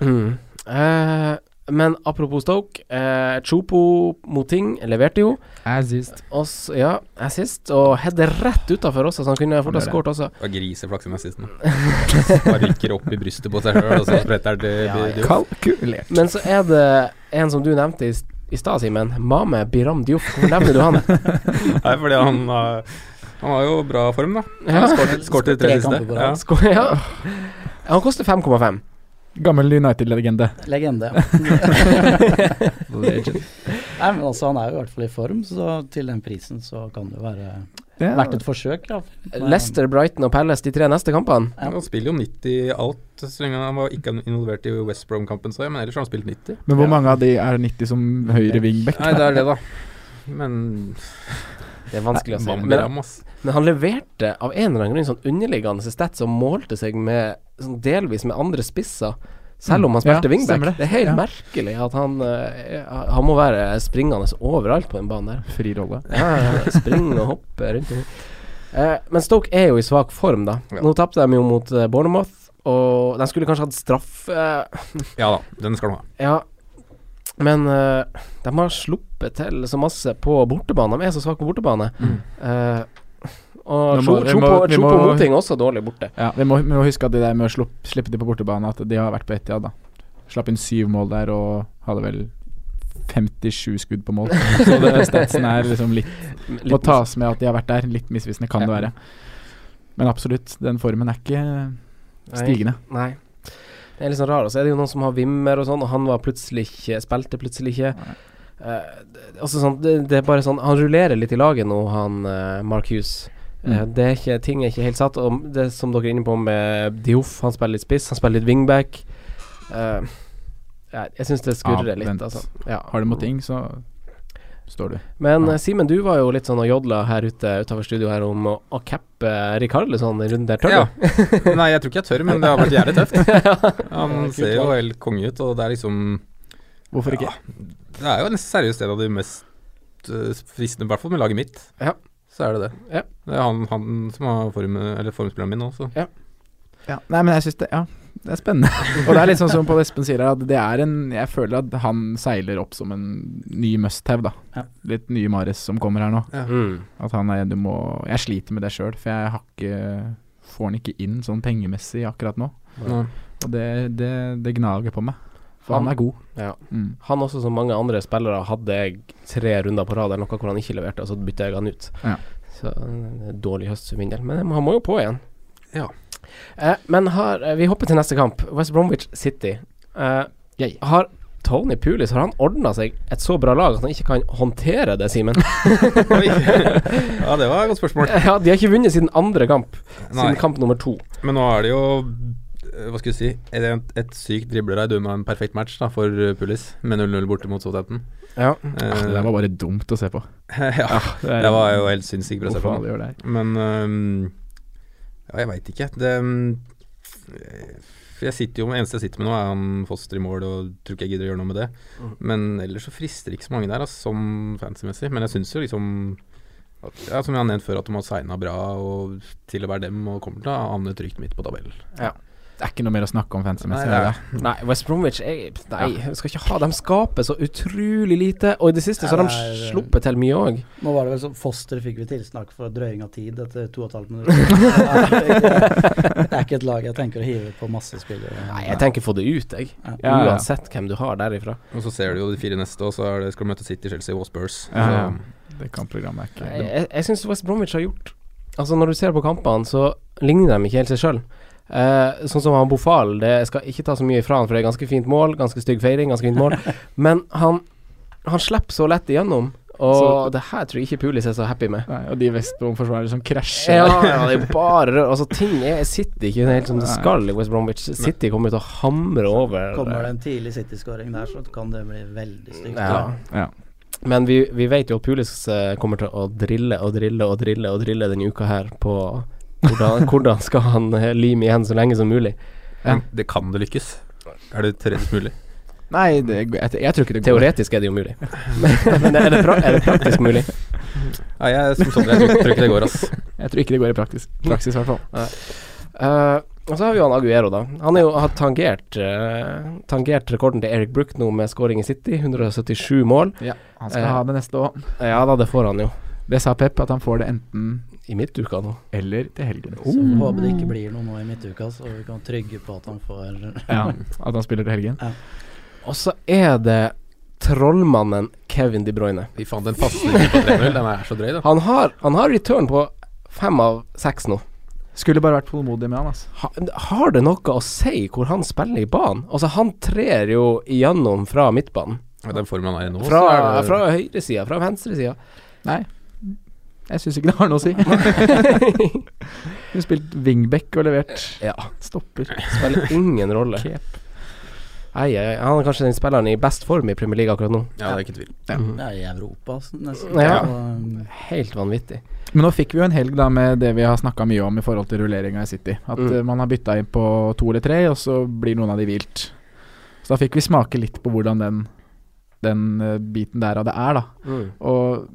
det. Mm. Eh, men apropos Stoke, eh, Chopo mot Ting leverte jo. Assist. Oss, ja, assist, og header rett utafor også, så han kunne fort ha gjør det. skåret også. Og griseflaks i nazisten. Bare rykker opp i brystet på seg sjøl, og så spretter det til ja, Kalkulert. Men så er det en som du nevnte i s- i stad, Simen. Mame Biram Diouf. Hvor nevner du han? Nei, fordi han har Han har jo bra form, da. Ja. Skåret de tre Tre siste. kamper på Ja. rad. Skå- ja. Han koster 5,5. Gammel United-legende. Legende. Nei, men altså, han er jo i hvert fall i form, så til den prisen så kan det jo være Ja. verdt et forsøk. Ja. Leicester, Brighton og Palace de tre neste kampene. Ja. Han spiller jo 90 alt, så lenge han var ikke involvert i West Brom-kampen, så jeg, men ellers har han spilt 90. Men hvor mange av de er 90 som høyre wingback? Nei, det er det, da. Men Det er vanskelig å si. Men, Bambiram, ass. men han leverte av en eller annen grunn sånn underliggende stat som målte seg med sånn delvis med andre spisser. Selv om han Mm. Ja, spilte wingback. stemmer det. Det. er helt Ja. merkelig at han eh, Han må være springende overalt på den banen der. Fri rolle. Ja, ja, Spring og hoppe rundt omkring. Eh, men Stoke er jo i svak form, da. Ja. Nå tapte de jo mot eh, Bournemouth, og de skulle kanskje hatt straff eh, Ja da, den skal han ha. Ja, men eh, de har sluppet til så masse på bortebane. De er så svake på bortebane. Eh, og Mm. Nå må- vi må- vi Chopo må- Moting også dårlig borte. Ja, vi må, vi må huske at det der med å slupp, slippe de på bortebane, at de har vært på Etiad, da. Slapp inn syv mål der og hadde vel 57 skudd på mål. Så det, statsen er liksom litt Må Litt- tas med at de har vært der. Litt misvisende kan det Ja. være. Men absolutt, den formen er ikke stigende. Nei. Det er litt sånn rar. Og så er det jo noen som har Wimmer og sånn, og han var plutselig ikke Spilte plutselig ikke. Eh, det- altså sånn, det, det er bare sånn Han rullerer litt i laget nå, han eh, Mark Hughes. Eh, Mm. det er ikke, ting er ikke helt satt. Og det som dere er inne på med Dioff, han spiller litt spiss, han spiller litt wingback. Eh, ja, jeg syns det skurrer Ja, litt, vent. altså. Ja. Har du mot ting, så står du. Men Ja. eh, Simen, du var jo litt sånn og jodla her ute utenfor studio her om å, å cappe Rikarlison i runden der, tør Ja. du? Nei, jeg tror ikke jeg tør, men det har vært jævlig tøft. Ja. Han ser jo helt konge ut, og det er liksom Hvorfor ikke? Ja, det er jo en seriøst en av de mest eh, fristende, i hvert fall med laget mitt. Ja. Så er det det. Ja. Det er han, han som har form, eller formspilleren min nå, så Ja, nei, men jeg syns det Ja, det er spennende. og det er litt sånn som Pål Espen sier her, at det er en Jeg føler at han seiler opp som en ny must-have, da. Ja. Litt nye Mares som kommer her nå. Mm. At han er Du må Jeg sliter med det sjøl, for jeg har ikke Får han ikke inn sånn pengemessig akkurat nå. Nei. Og det, det, det gnager på meg. For han er god. Ja. Mm. Han også, som mange andre spillere, hadde jeg tre runder på rad eller noe hvor han ikke leverte, og så bytta jeg han ut. Ja. Så eh, dårlig høst for min del, men han må jo på igjen. Ja. Eh, men har, eh, vi hopper til neste kamp. West Bromwich City. Eh, Yay. Har Tony Pulis Har han ordna seg et så bra lag at han ikke kan håndtere det, Simen? Oi. Ja, det var et godt spørsmål. ja, de har ikke vunnet siden andre kamp, Nei, siden kamp nummer to. men nå er det jo eh, hva skal jeg si Et, et sykt driblerraid unna en perfekt match da, for eh, Pulis, med 0-0 borte mot Southampton. Ja. Eh, Ah, det der var bare dumt å se på. ja, er- det var jo helt sinnssykt bra å se på. Hvorfor alle gjør det her. eh, Men øhm, Ja, jeg veit ikke. Det, øhm, for eh, jeg sitter jo med, eneste jeg sitter med nå, er han Foster i mål, og tror ikke jeg gidder å gjøre noe med det. Mm. Men ellers så frister det ikke så mange der, altså, som fancy-messig. Men jeg syns jo liksom at, ja, Som jeg har nevnt før, at de har signa bra og til å være dem, og kommer til å havne trygt midt på tabellen. Det er ikke noe mer å snakke om Nei, fancy-messig. det er er det? Nei, West Bromwich jeg, Nei, jeg skal ikke ha De skaper så utrolig lite, og i det siste så har Ja, de det er- sluppet til mye òg. Nå var det vel sånn Foster fikk vi tilsnakk for drøying av tid etter to og et halvt minutter. Det er- Det er ikke et lag jeg tenker å hive på masse spillere. Nei, jeg tenker få det ut, jeg. Ja. Ja, ja. Uansett hvem du har derifra. Og så ser du jo de fire neste, og så er det, skal du møte City, Chelsea og Spurs. Ja, ja. Så- Det kampprogrammet er ikke Jeg, jeg, jeg syns West Bromwich har gjort Altså, når du ser på kampene, så ligner de ikke helt seg sjøl. Eh, sånn som han Bofal, det jeg skal ikke ta så mye ifra han, for det er ganske fint mål, ganske stygg feiring, ganske fint mål, men han Han slipper så lett igjennom, og Så- det her tror jeg ikke Pulis er så happy med. Nei, og de Vestbrom-forsvarere som krasjer. Ja, ja, det er bare rør. Altså, ting er City ikke helt som det skal i West Bromwich. City kommer til å hamre over. Kommer det en tidlig City-skåring der, så kan det bli veldig stygt. Ja. Ja. Men vi, vi vet jo at Pulis eh, kommer til å drille og drille og drille og drille denne uka her på hvordan, hvordan skal han eh, lime igjen så lenge som mulig. Men det kan det lykkes. Er det teoretisk mulig? Nei, det, jeg, jeg tror ikke det går. Teoretisk er det jo mulig, men er det, pra er det praktisk mulig? Nei, jeg, som Sondre, jeg tror, tror ikke det går, ass. Jeg tror ikke det går i praksis, praksis i hvert fall. Eh, og så har vi jo han Aguero, da. Han er jo, har tangert, eh, tangert rekorden til Eric Brook nå med scoring i City, 177 mål. Han Eh. skal ha det neste òg. Ja da, det får han jo. Det sa Pep, at han får det enten I midtuka nå. eller til helgen. Så Oh. Oh. håper det ikke blir noe nå i midtuka, så vi kan trygge på at han får Ja, At han spiller til helgen. Og så er det trollmannen Kevin De Bruyne. Fy faen, den pasningen på 3-0, den er så drøy, da. Han har, han har return på fem av seks nå. Skulle bare vært tålmodig med han, altså. Ha, har det noe å si hvor han spiller i banen? Altså, han trer jo igjennom fra midtbanen. Med den formen han er i nå, Fra, eh, så er det fra høyresida, fra venstresida. Jeg syns ikke det har noe å si. Hun spilte wingback og levert. Ja. Stopper. Spiller ingen rolle. Kep. Ei, ei, ei. han er kanskje den spilleren i best form i Premier League akkurat nå. Ja, det er ikke tvil. Ja, i Europa, så nesten. Mm. Ja. Så, um, Helt vanvittig. Men nå fikk vi jo en helg da med det vi har snakka mye om i forhold til rulleringa i City. At Mm. eh, man har bytta inn på to eller tre, og så blir noen av de vilt. Så da fikk vi smake litt på hvordan den, den eh, biten der av det er, da. Og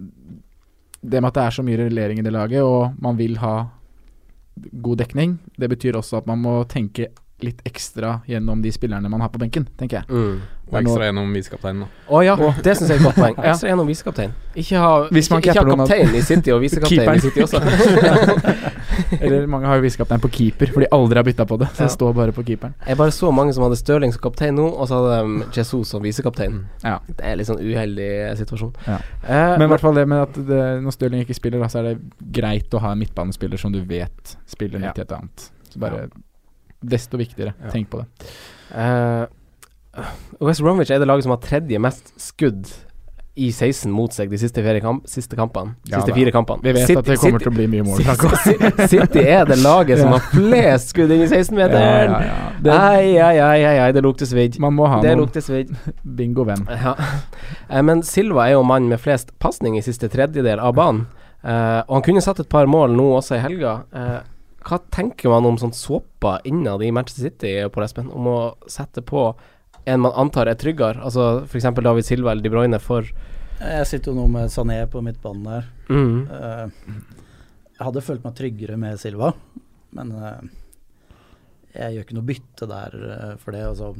det med at det er så mye rullering i det laget, og man vil ha god dekning, det betyr også at man må tenke litt ekstra gjennom de spillerne man har på benken, tenker jeg. Mm. Og ekstra gjennom visekapteinen, da. Å ja, det syns jeg er et godt poeng. Ekstra gjennom visekaptein. Ikke ha, Hvis man ikke, ikke ha capper noen av- kaptein i City og visekaptein i Keeperen. City også. Eller mange har jo viskaptein på keeper, for de aldri har bytta på det. Ja. Så Eh, det står bare på keeperen. Jeg bare så mange som hadde Stirling som kaptein nå, og så hadde de Jesus som visekaptein. Mm, Ja. Det er litt sånn uheldig eh, situasjon. Ja. Eh, Men i hvert fall det med at det, når Stirling ikke spiller, da, så er det greit å ha en midtbanespiller som du vet spiller Ja. midt i et annet. Så bare desto viktigere. Ja. Tenk på det. eh, West Bromwich er det laget som har tredje mest skudd i 16 mot seg de siste, fire kamp siste kampene. De Ja, siste da. fire kampene. Vi vet City- at det kommer City- til å bli mye mål. City- City er det laget som har flest skudd inn i 16-meteren. Ja, ja, ja. Ai, ai, ai, ai, ai, det lukter svidd. Man må ha Det noen lukter svidd. bingo venn. Ja. Eh, Men Silva er jo mannen med flest pasning i siste tredjedel av banen. Eh, og han kunne satt et par mål nå også i helga. Eh, hva tenker man om sånn såpa innad i Manchester City, Pål Espen, om å sette på en man antar er tryggere, altså f.eks. David Silva eller De Bruyne for eh, jeg sitter jo nå med Sané på midtbanen der. mm. Eh, Jeg hadde følt meg tryggere med Silva, men eh, jeg gjør ikke noe bytte der eh, for det. Altså,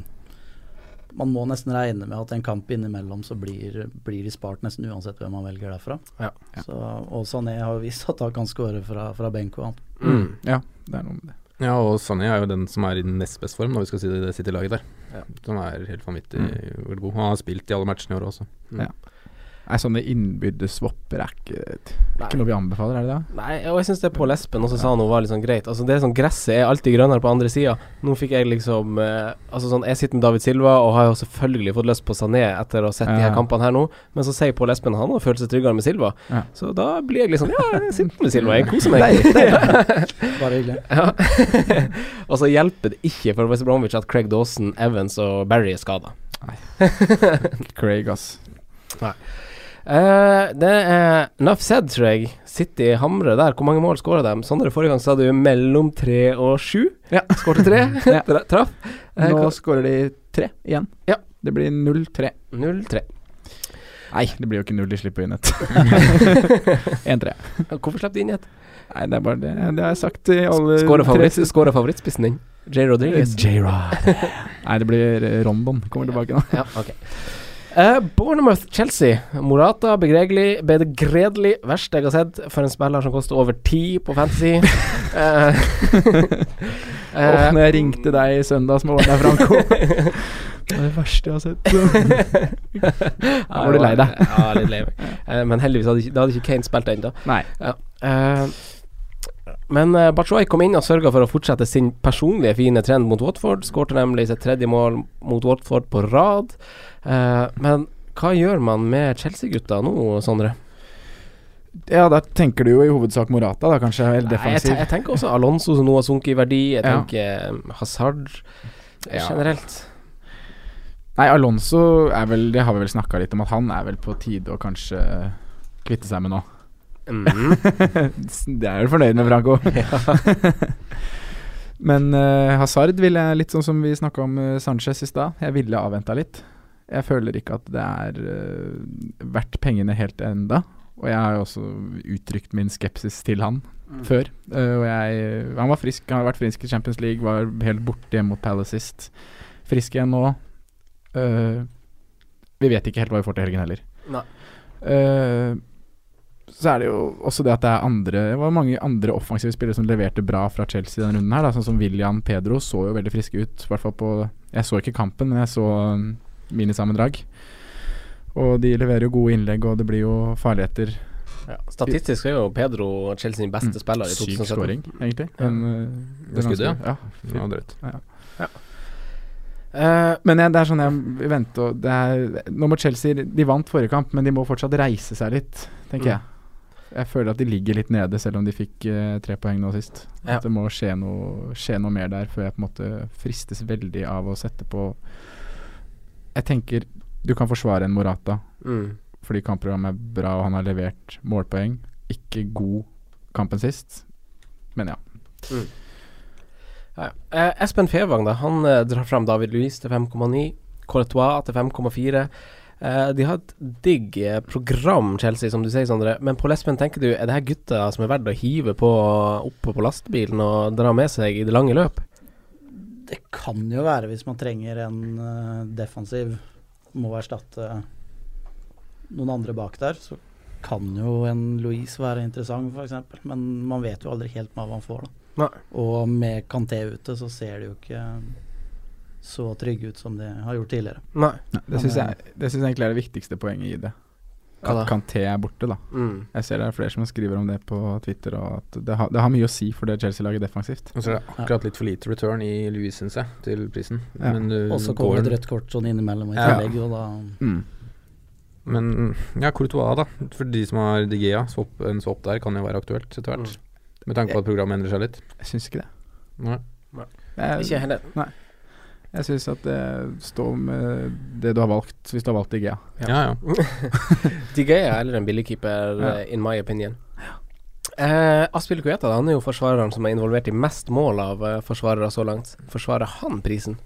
man må nesten regne med at en kamp innimellom så blir, blir de spart nesten uansett hvem man velger derfra. Ja. Ja. Så, og Sané har jo vist at han kan skåre fra, fra benk og annet. Mm. Ja, det er noe med det. Ja, og Sané er jo den som er i nest best form, når vi skal si det, det sitter i laget der. Ja. Som er helt vanvittig god. Han har spilt i alle matchene i år også. Nei, sånne innbyrdes swapper er ikke, det er ikke noe vi anbefaler, er det det? Nei, og jeg syns det Pål Espen også sa noe var litt sånn greit. Altså det er sånn Gresset er alltid grønnere på andre sida. Nå fikk jeg liksom eh, Altså sånn Jeg sitter med David Silva og har jo selvfølgelig fått lyst på Sané etter å ha sett de her Ja. kampene her nå, men så sier Pål Espen han har følt seg tryggere med Silva. Ja. Så da blir jeg liksom Ja, jeg sitter med Silva, jeg koser meg. Bare hyggelig. ja. og så hjelper det ikke for West Bromwich at Craig Dawson, Evans og Barry er skada. Craig, ass. Eh, det er Nuff said, tror jeg. City hamrer der. Hvor mange mål skåra de? Sondre, forrige gang sa du mellom tre og sju. Ja. Skårte tre. Ja. Tra- Traff. Eh, Nå hva- skårer de tre igjen. Ja. Det blir 0-3. 0-3. Nei, det blir jo ikke null de slipper inn et. 1-3. Hvorfor slapp de inn i et? Nei, det er bare det. Det har jeg sagt i alle Skåra favoritt, tre- skårer favorittspissen din. J. Rodriguez. J-Rod. Nei, det blir eh, Rondon. Kommer tilbake nå. Ja, ok. Eh, Bournemouth-Chelsea. Morata begredelig, begredelig verst jeg har sett for en spiller som koster over ti på Fantasy. Eh, Åh, eh, når jeg ringte deg søndag som var der, Franco Det var det verste jeg har sett. Ja, var du lei deg. Ja, litt lei meg. Eh, Men heldigvis hadde ikke, da hadde ikke Kane spilt ennå. Nei. Eh, Men uh, Bachoy kom inn og sørga for å fortsette sin personlige fine trend mot Watford. Skårte nemlig sitt tredje mål mot Watford på rad. Eh, men hva gjør man med Chelsea-gutta nå, Sondre? Ja, da tenker du jo i hovedsak Morata, da kanskje. Nei, jeg, Eller te- defensiv. jeg tenker også Alonso som nå har sunket i verdi. Jeg Ja. tenker eh, Hazard eh, Ja. generelt. Nei, Alonso er vel Det har vi vel snakka litt om, at han er vel på tide å kanskje kvitte seg med nå. Mm. Det er du fornøyd med, Franco. Men eh, Hazard ville jeg litt sånn som vi snakka om eh, Sanchez i stad. Jeg ville avventa litt. Jeg føler ikke at det er eh, verdt pengene helt enda. Og jeg har jo også uttrykt min skepsis til han før. Eh, og jeg, han var frisk, han har vært frisk i Champions League, var helt borte hjemme mot Palace sist. Frisk igjen nå. Eh, vi vet ikke helt hva vi får til helgen heller. Nei. Eh, så er det jo også det at det er andre Det var mange andre offensive spillere som leverte bra fra Chelsea denne runden her, da, sånn som William Pedro så jo veldig friske ut, i hvert fall på Jeg så ikke kampen, men jeg så um, minisammendrag. Og de leverer jo gode innlegg, og det blir jo farligheter. Ja, statistisk er jo Pedro Chelsea sin beste Mm. spiller i Syk 2017. scoring, egentlig. Ja. Men, uh, Det skuddet, ja. ja. Ja, drøyt. Eh, men jeg, det er sånn jeg venter og det er, Nå må Chelsea De vant forrige kamp, men de må fortsatt reise seg litt, tenker Mm. jeg. Jeg føler at de ligger litt nede, selv om de fikk eh, tre poeng nå sist. Ja. At det må skje noe, skje noe mer der før jeg på en måte fristes veldig av å sette på Jeg tenker du kan forsvare en Morata Mm. fordi kampprogrammet er bra og han har levert målpoeng. Ikke god kampen sist, men ja. Ja, ja. Eh, Espen Fevang da, han eh, drar fram David Luiz til 5,9, Courtois til 5,4. Eh, de har et digg eh, program, Chelsea, som du sier, Sondre. Men Pål Espen, tenker du, er det her gutta som er verdt å hive på oppå på lastebilen og dra med seg i det lange løp? Det kan jo være hvis man trenger en eh, defensiv, må erstatte noen andre bak der, så kan jo en Louise være interessant, f.eks. Men man vet jo aldri helt hva man får, da. Nei. Og med Kanté ute, så ser de jo ikke så trygge ut som de har gjort tidligere. Nei. Det syns jeg, det synes jeg egentlig er det viktigste poenget i det. Ja da. At Kanté er borte, da. Mm. Jeg ser det er flere som skriver om det på Twitter, og at det, har- det har mye å si for det Chelsea-laget defensivt. Og så er det akkurat litt for lite return i Louis, syns jeg, til prisen. Ja. Men eh, du Og så kommer går et rødt kort sånn innimellom i Ja. tillegg, Mm. og da Mm. Men ja, Courtois, da. For de som har Digea, swap, en swap der kan jo være aktuelt etter Mm. hvert. Med tanke på at programmet endrer seg litt. Jeg syns ikke det. Nei. Mm. Ikke Jeg, heller. jeg syns at det står med det du har valgt, hvis du har valgt IGA. Ja, ja. Digea eller en billigkeeper, Ja. eh, in my opinion. Eh, Aspil Kueta da, han er jo forsvareren som er involvert i mest mål av eh, forsvarere så langt. Forsvarer han prisen?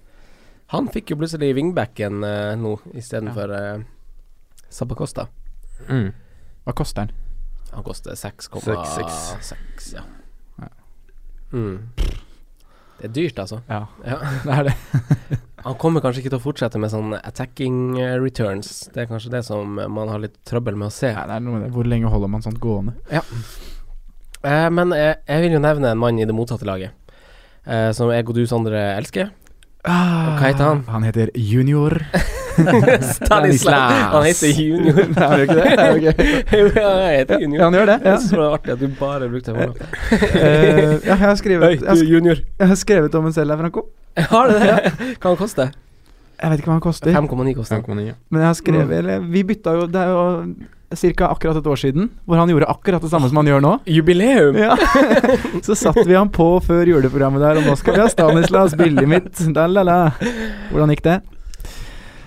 Han fikk jo plutselig wingbacken eh, nå istedenfor eh, Sabacosta. Mm. Hva koster den? Han koster 6,6. 6,6. Ja. Ja. Mm. Det er dyrt, altså. Ja, Ja. det er det. Han kommer kanskje ikke til å fortsette med sånn attacking eh, returns. Det er kanskje det som eh, man har litt trøbbel med å se. Nei, det er noe med det. Hvor lenge holder man sånt gående? Eh, men jeg, jeg vil jo nevne en mann i det motsatte laget, eh, som jeg og du, Sondre, elsker. Ah, hva heter han? Han heter Junior. Stanislas. Han heter Junior. Nei, han gjør ikke det? Ja, ok. jo, ja, jeg heter Junior. Ja, han gjør det. Ja. Jeg synes det var artig at du bare brukte det. for meg. Eh, ja, jeg, har skrevet, jeg, har sk- Junior. jeg har skrevet om en selv her, Franco. Har du det? Hva han koster Jeg vet ikke hva han koster. 5,9 koster han. 5,9. ja. Men jeg har skrevet eller, Vi bytta jo Det er jo ca. akkurat et år siden, hvor han gjorde akkurat det samme som han gjør nå. Jubileum! Ja. Så satte vi han på før juleprogrammet der, og nå skal vi ha Stanislas, bildet mitt. Da, la, la. Hvordan gikk det?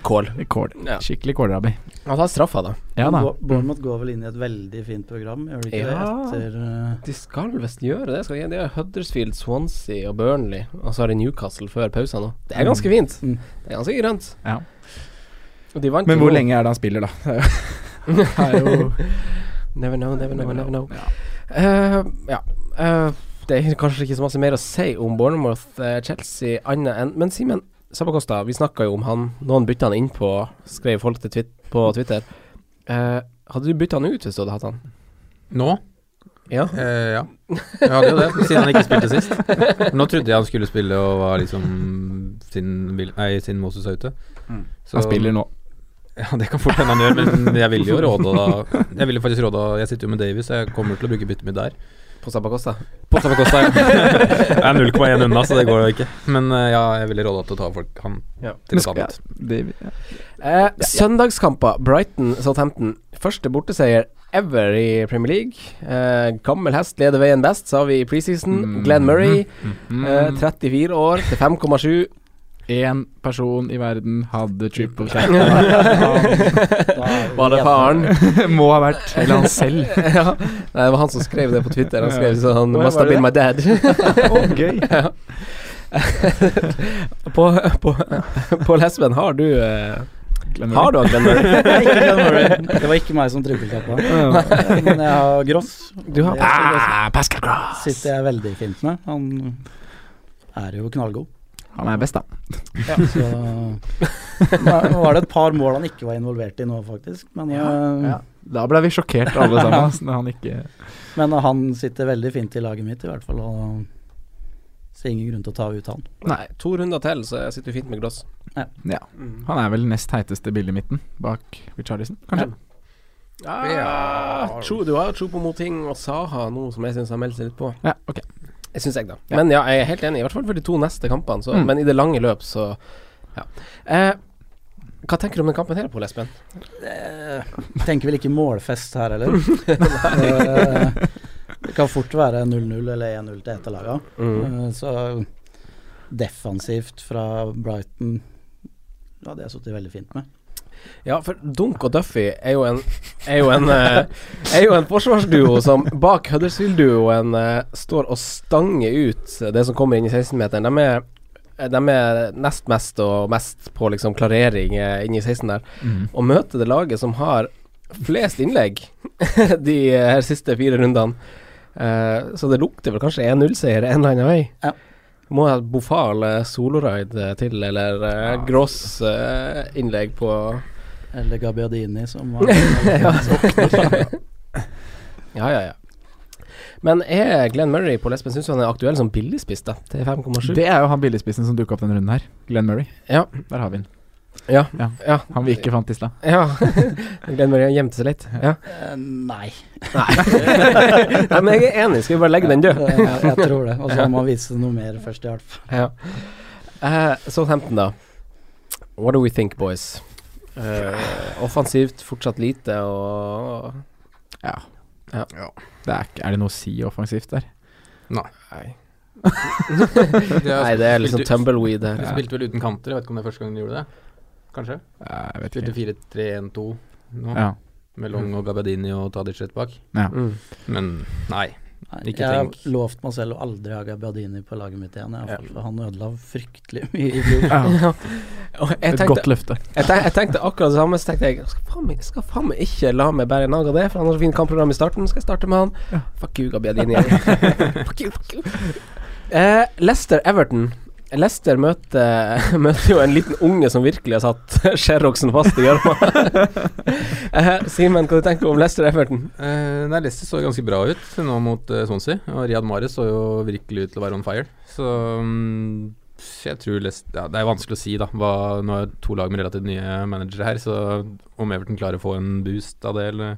kål. Kål. Ja. Skikkelig kålrabi. Han tar straffa, da. Ja da. Bo- Bournemouth går vel inn i et veldig fint program, gjør de ikke Ja. det? Etter eh, De skal visst gjøre det. Skal de, de har Huddersfield, Swansea og Burnley, og så har de Newcastle før pausen nå. Det er ganske fint. Mm. Det er ganske grønt. Ja. Og de vant Men jo hvor nå. lenge er det han spiller, da? Det er jo Never know, never know, never know. Ja. Eh, ja. Eh, det er kanskje ikke så masse mer å si om Bournemouth, eh, Chelsea, annet enn Men Simen Sabakosta, vi snakka jo om han. Noen bytta han inn på, skrev folk til twit på Twitter. Eh, hadde du bytta han ut hvis du hadde hatt han? Nå? Ja. Eh, ja. Jeg hadde jo det, siden han ikke spilte sist. Nå trodde jeg han skulle spille og var liksom siden, Vil- nei, siden Moses er ute. Mm. Så- Han spiller nå. Ja, det kan fort hende han gjør, men jeg ville jo råda da Jeg ville faktisk råda Jeg sitter jo med Davies, jeg kommer til å bruke byttet mitt der. På Sabakosta? Posta på Costa ja. Jeg er 0,1 unna, så det går jo ikke. Men eh, ja, jeg ville råda til å ta folk han Ja. til et annet. Det, ja. Eh, søndagskamper. Brighton, Southampton. Første borteseier ever i Premier League. Eh, gammel hest leder veien best, sa vi i preseason. Mm. Glenn Murray, eh, Mm. 34 år til 5,7. En person i verden hadde triple check. Var det faren? Må ha vært Eller han selv. ja. Nei, det var han som skrev det på Twitter. Han skrev sånn Å, ja, Must have var det been my dad. Oh, gøy. Ja. på, på, på Lesben har du eh, Har du Glenn Murray? Nei, ikke Glenn Murray. Det var ikke meg som trippelkappa. Men jeg har Gross. Du har Det ah, Pascal Gross. sitter jeg veldig fint med. Han er jo knallgod. Han er best, da. Så Nå var det et par mål han ikke var involvert i nå, faktisk. Men, Mm. eh, Da ble vi sjokkert alle sammen. altså, Når han ikke men han sitter veldig fint i laget mitt, i hvert fall. Og ser ingen grunn til å ta ut han. Nei, to runder til, så jeg sitter jo fint med Gross. Ja. Mm. Han er vel nest heiteste billig midten, bak Richarlison, kanskje? Ja, tro, du har tro på Moting og Saha nå, som jeg syns har meldt seg litt på. Ja, ok. Jeg synes jeg, da. Men ja, jeg er helt enig, i hvert fall for de to neste kampene. Så, Mm. Men i det lange løp, så ja. Eh, hva tenker du om den kampen her, Pål Espen? Eh, Tenker vel ikke målfest her heller. Eh, det kan fort være 0-0 eller 1-0 til ett av laga. Mm. Eh, Så defensivt fra Brighton ja, det har jeg sittet veldig fint med. Ja, for Dunk og Duffy er jo en Er jo en, eh, er jo en forsvarsduo som bak Huddersfield-duoen eh, står og stanger ut det som kommer inn i 16-meteren. De er, de er nest mest og mest på liksom klarering eh, inne i 16 der. Mm. Å møte det laget som har flest innlegg de eh, her siste fire rundene. Eh, så det lukter vel kanskje 1-0-seier en eller annen vei. Ja. Må ha et bofal eh, soloride til, eller eh, gross eh, innlegg på Eller Gabbiadini, som var ja. Ja, ja, ja. Men er Glenn Murray på Lesben syns han er aktuell som billigspiss, da? Til 5,7? Det er jo han billigspissen som dukka opp denne runden her. Glenn Murray. Ja. Der har vi den. Ja. Ja. ja. Han vi ikke fant i stad. ja. Glenn Murray gjemte seg litt. Ja. Eh, Nei. Nei, men jeg er enig, skal vi bare legge den død? Eh, jeg tror det. Og så må man vise noe mer først i hjelp. Ja. Eh, Southampton, da. What do we think, boys? Eh, offensivt fortsatt lite og Ja. Ja. Det er, ikke- er det noe å si offensivt der? Nei. Nei, det er liksom tumbleweed her. De spilte vel uten kanter, jeg vet ikke om det er første gang de gjorde det. Kanskje? Eh, Jeg vet Spilte ikke. 4-3-1-2 nå, Ja. med Long og Gabadini og Tadic rett bak. ja. Mm. Men nei. Nei, Ikke jeg har tenk. lovt meg selv å aldri ha Gabbiadini på laget mitt igjen. i hvert Ja. fall, for Han ødela fryktelig mye i fjor. ja. Og jeg, Et godt tenkte, løfte. jeg, tenkte, jeg tenkte akkurat det samme, så tenkte jeg skal faen meg, skal faen meg ikke la meg bære nag av det, for han har så fint kampprogram i starten. Skal jeg starte med han? Ja. Fuck you, Gabbiadini. fuck you, fuck you. Eh, Leicester Everton. Leicester møter, møter jo en liten unge som virkelig har satt Sherroxen fast i gjørma. eh, Simen, hva du tenker du om Leicester Everton? Eh, nei, Leicester så ganske bra ut nå mot eh, Swansea, og Riyad Mahrez så jo virkelig ut til å være on fire. Så mm, jeg tror Leicester ja, Det er vanskelig å si, da. Hva, nå er det to lag med relativt nye managere her, så om Everton klarer å få en boost av det, eller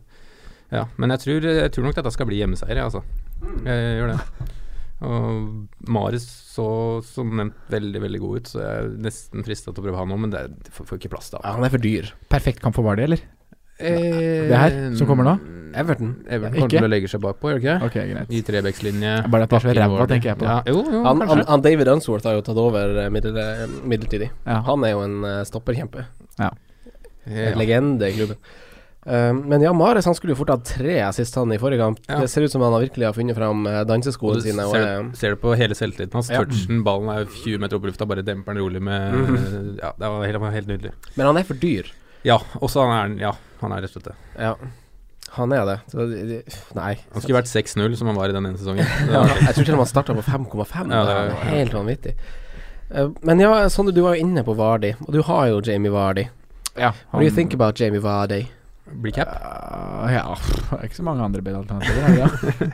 Ja. Men jeg tror, jeg tror nok dette skal bli hjemmeseier, jeg, altså. Jeg gjør det. Og Mahrez så som nevnt veldig, veldig god ut, så jeg er nesten frista til å prøve han òg, men det er- får, får ikke plass til Ja, han. han er for dyr. Perfekt kamp for Vardy, eller? Eh, Det her som kommer nå? Everton. Everton Ikke? kommer til å legge seg bakpå, gjør det ikke det? Ok, greit. I trebekslinje. Bare at det er så Bakke ræva, Vardy. tenker jeg på. Ja, jo, jo, Han, han, kanskje. han David Unsworth har jo tatt over eh, middel, eh, midlertidig. Ja. Han er jo en eh, stopperkjempe. Ja. En legende i klubben. Eh, men ja, Mares han skulle jo fort hatt tre assist han i forrige kamp. Ja. Det ser ut som han har virkelig har funnet fram eh, Og danseskoene du sine. Og, ser, eh, ser du på hele selvtilliten hans. Ja. Touchen, ballen er jo 20 meter opp i lufta, bare demper den rolig med Mhm. Ja, det var helt, det var helt nydelig. men han er for dyr. Ja, også han er han- Ja, han er rett og slett det. Ja, han er det. Så, de- de- nei. Han skulle vært 6-0, som han var i den ene sesongen. Det Ja, var- jeg tror til og med han starta på 5,5. Ja, det det er er- jo helt vanvittig. Eh, Men ja, Sondre, du var jo inne på Vardi, og du har jo Jamie Vardi. Ja, What do you think about Jamie Vardi? Blir cap. Eh, ja, det er ikke så mange andre bedre alternativer. er det det?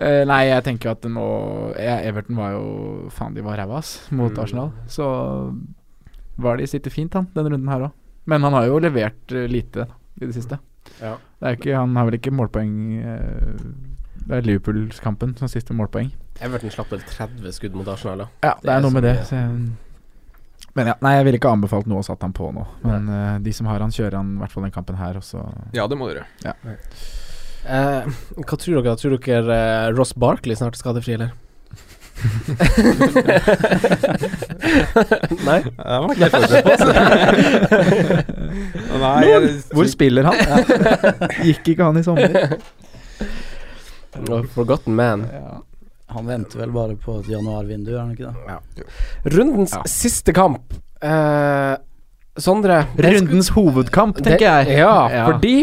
Eh, nei, jeg tenker at det nå ja, Everton var jo Faen, de var ræva, ass, mot Mm. Arsenal. Så var de sitter fint, han, denne runden her òg. Men han har jo levert eh, lite i det siste. Ja. Det er jo ikke, han har vel ikke målpoeng eh, Det er Liverpool-kampen som siste målpoeng. Everton slapp vel 30 skudd mot Arsenal, da. Ja, det, Det er er noe så med det. mye. Så, jeg- men ja, nei, jeg ville ikke anbefalt noe og satt han på nå. Men eh, de som har han, kjører han i hvert fall den kampen her, og så Ja, det må dere. Eh, hva tror dere? Tror dere eh, Ross Barkley snart er skadefri, eller? Nei? Det var ikke jeg forberedt på. altså. Nei, jeg, Hvor spiller han? Gikk ikke han i sommer? Oh, Forgotten man. Ja. Han venter vel bare på et januarvindu, gjør han ikke det? Rundens Ja. siste kamp. Eh, Sondre det sk- Rundens hovedkamp, det- tenker jeg. Ja, fordi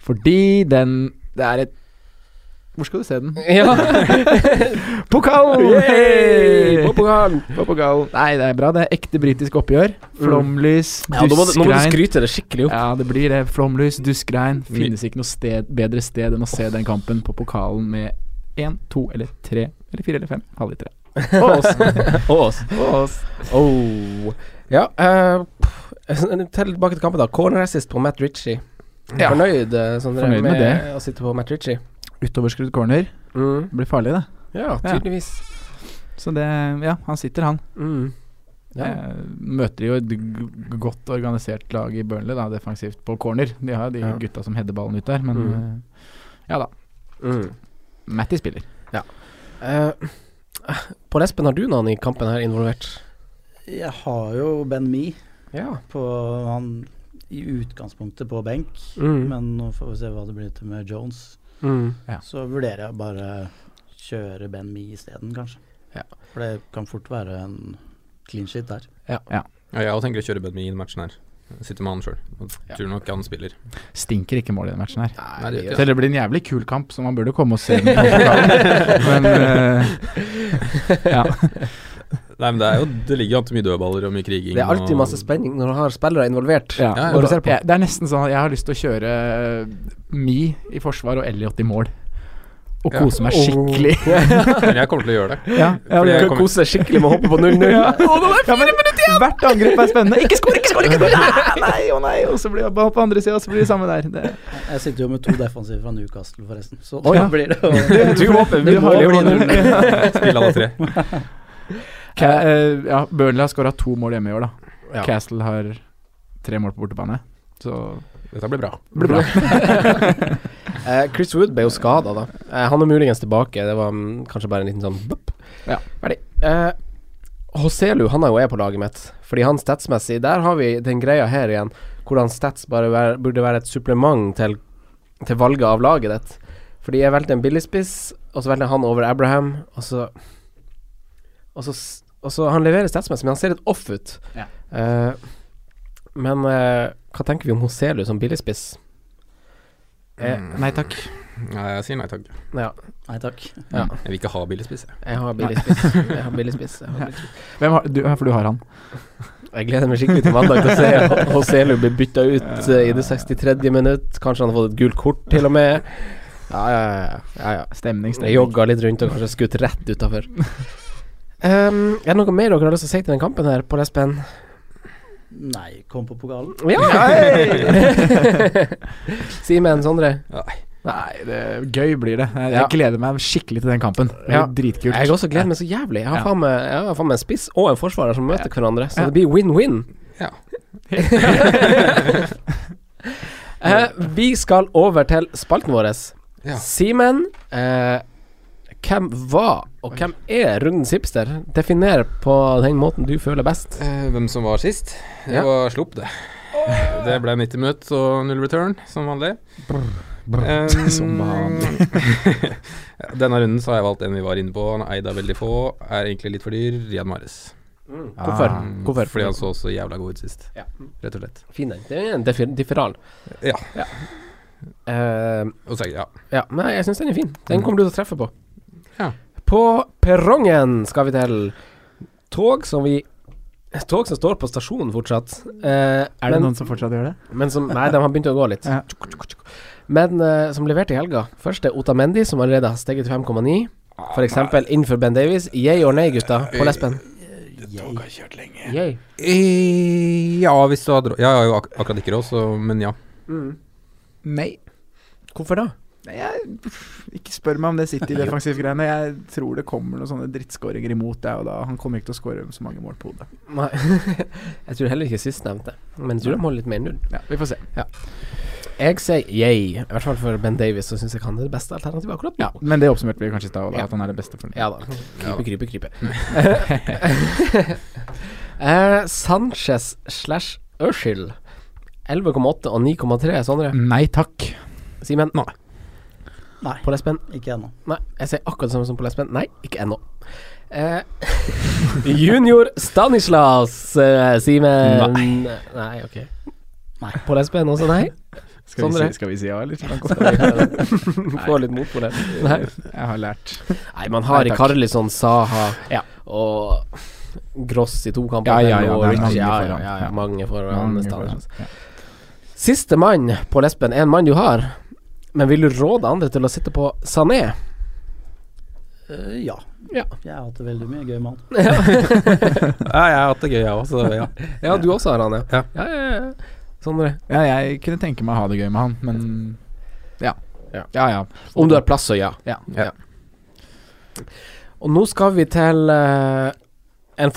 fordi den Det er et Hvor skal du se den? Ja. Pokalen! Yay! På pokalen. Pokalen. Nei, det er bra. Det er ekte britisk oppgjør. Flomlys, Ja, nå, må du, nå må du duskregn. skryte det skikkelig opp. Ja, det blir det. Flomlys, duskregn. My- Finnes ikke noe sted, bedre sted enn å se den kampen på pokalen med én, to eller tre eller fire eller fem halvlitere. Og oss. Og oss. Oh. Ja, eh, pff, tell tilbake til kampen, da. Corner assist på Matt Ritchie. Ja. Fornøyd, eh, Sondre, Fornøyd med det. å sitte på Matt Ritchie? Utoverskrudd corner. Mm. Det blir farlig, det. Ja, tydeligvis. Så det Ja, han sitter, han. Mm. Ja. Eh, møter jo et g- godt organisert lag i Burnley, da, defensivt, på corner. De har jo de Ja. gutta som header ballen ut der, men Mm. eh, Ja da. Mm. Matty spiller. Eh, Pål Espen, har du noen i kampen her involvert? Jeg har jo Ben Me Ja. på han i utgangspunktet på benk, Mm. men nå får vi se hva det blir til med Jones. Mm. Så vurderer jeg bare kjøre Ben Me isteden, kanskje. Ja. For det kan fort være en clean shit der. ja, jeg også tenker å kjøre Bedmi i den matchen her. Jeg Sitter med han sjøl. Tror nok han spiller. Stinker ikke mål i den matchen her. Nei, det gjør Selv det blir en jævlig kul kamp, så man burde komme og se den. på pokalen. Men eh, ja. Nei, men det, er jo, det ligger jo alltid mye dødballer og mye kriging. Det er alltid og- masse spenning når du har spillere involvert. Ja, Ja, ja. og Hva du ser på. jeg, det er nesten sånn at jeg har lyst til å kjøre Me i forsvar og Elliot i mål. Og Ja. kose Oh. meg skikkelig. Men jeg kommer til å gjøre det. ja, ja, Fordi det- jeg kan kommer- kose deg skikkelig med å hoppe på 0-0. Å, nå Ja. er det Ja, men hvert angrep er spennende. Ikke skår, ikke skår! Ikke skår. Ah, Nei, å nei! Og så blir jeg bare på andre sida, så blir det samme der. Det, Jeg sitter jo med to defensive fra Newcastle, forresten. Å, Så da ja. blir det jo Du håper Du har jo- Spille alle tre. Ca- eh, ja, Burnley har skåra to mål hjemme i år, da. Ja. Castle har tre mål på bortebane. Så Dette blir bra. det blir bra. Eh, Chris Wood ble jo skada, da. Eh, han er muligens tilbake. Det var mm, kanskje bare en liten sånn bup. Ja. Ferdig. Eh, Hoselu han er jo jeg på laget mitt, fordi han statsmessig Der har vi den greia her igjen, hvordan stats bare vær, burde være et supplement til, til valget av laget ditt. Fordi jeg valgte en billigspiss, og så valgte jeg han over Abraham, og så Og så, s- og så Han leverer statsmessig, men han ser litt off ut. Ja. Eh, men eh, hva tenker vi om Hoselu som billigspiss? Eh, Mm. nei takk. Nei, jeg sier nei takk. Ja. Nei takk. Jeg vil ikke ha billigspiss. jeg. Jeg har billig spiss. Jeg har billig spiss. Jeg, har billig spiss. Hvem har, du, ja, for du har han. jeg gleder meg skikkelig til mandag til å se Hoselu bli bytta ut eh, i det 63. minutt. Kanskje han har fått et gult kort, til og med. Ja, ja, ja. ja, ja. Stemning, Jeg stemning. jogga litt rundt og kanskje skutt rett utafor. Um, er det noe mer dere har lyst til å si til den kampen her, Pål Espen? Nei, kom på pokalen. Ja! Simen, Sondre? Nei, det, gøy blir det. Jeg, jeg Ja. gleder meg skikkelig til den kampen. Det blir Ja. dritkult. Jeg også gleder meg så jævlig. Jeg har Ja. faen meg jeg har faen meg en spiss og en forsvarer som møter hverandre, så Ja. det blir win-win. Ja. Eh, vi skal over til spalten vår. Ja. Simen, eh, hvem var og hvem er rundens hipster? Definer på den måten du føler best. Eh, hvem som var sist? Det Ja. var Slopp, det. Det ble 90 minutter og null return, som vanlig. Som vanlig. Eh, Denne runden så har jeg valgt en vi var inne på. Han er eid av veldig få. Er egentlig litt for dyr. Riyad Mahrez. Hvorfor? Mm, Hvorfor? Fordi han så så jævla god ut sist. Ja. Rett og slett. Fin den. Det er en differ differal. Ja. ja. Eh, Og så, ja. ja. Men jeg syns den er fin. Mm. Den kommer du til å treffe på. Ja. På perrongen skal vi til tog som vi Tog som står på stasjonen fortsatt. Eh, Er det men, noen som fortsatt gjør det? men som Nei, de har begynt å gå litt. Ja. Tjuk, tjuk, tjuk. Men eh, som leverte i helga. Først er Otamendi, som allerede har steget til 5,9. F.eks. innenfor Ben Davies. Yay or nay, gutta? På lesben. Jeg, Eh, har kjørt lenge. Yay. Eh, ja, hvis du hadde råd. Jeg har jo ak akkurat ikke råd, så men ja. Nei. Hvorfor da? Nei, jeg, ikke spør meg om det sitter i defensivgreiene. Jeg tror det kommer noen sånne drittskåringer imot deg, og da han kommer ikke til å skåre så mange mål på hodet. Nei. jeg tror heller ikke sistnevnte. Men jeg tror de holder litt mer null. Ja, Vi får se. Jeg sier yay. I hvert fall for Ben Davies, så syns jeg han er det beste alternativet akkurat nå. Ja, Men det oppsummerte vi kanskje i stad, og da, Ja. at han er det beste for den. Ja Mm. da. Ja da. Krype, krype, krype. Eh, Sanchez slash Urshil. 11,8 og 9,3, Sondre. Nei takk. Simen? Mm. Nei. Nei. På Lesben? ikke ennå. Nei. Jeg sier akkurat det samme som på Lesben. Nei, ikke ennå. Eh, junior Stanislas, eh, Simen Nei. ok. Nei. På Lesben også, nei? Skal, vi Sondre? si, skal vi si Sånn, ja, eller? Sånn Få litt mot på det. Nei. Jeg har lært. Nei, man har Nei, takk. Karlisson, Saha Ja. og Gross i to kamper. Ja, ja, ja, og det er Richie- ja, mange ja, foran. ja, ja, Ja. mange foran. Mange Stanislas. foran. Ja. Siste mann på lesben er en mann du har, men vil du råde andre til å sitte på Sané? Eh, ja. Ja. Jeg har hatt det veldig mye gøy med han. ja. Jeg har hatt det gøy, jeg òg, så ja. Ja, du også har han, ja. Ja. ja, ja, ja. Sånn Sondre, Ja, jeg kunne tenke meg å ha det gøy med han, men ja. Ja. ja. ja. om du har plass, så ja. Ja. Ja. Og nå skal vi til eh, en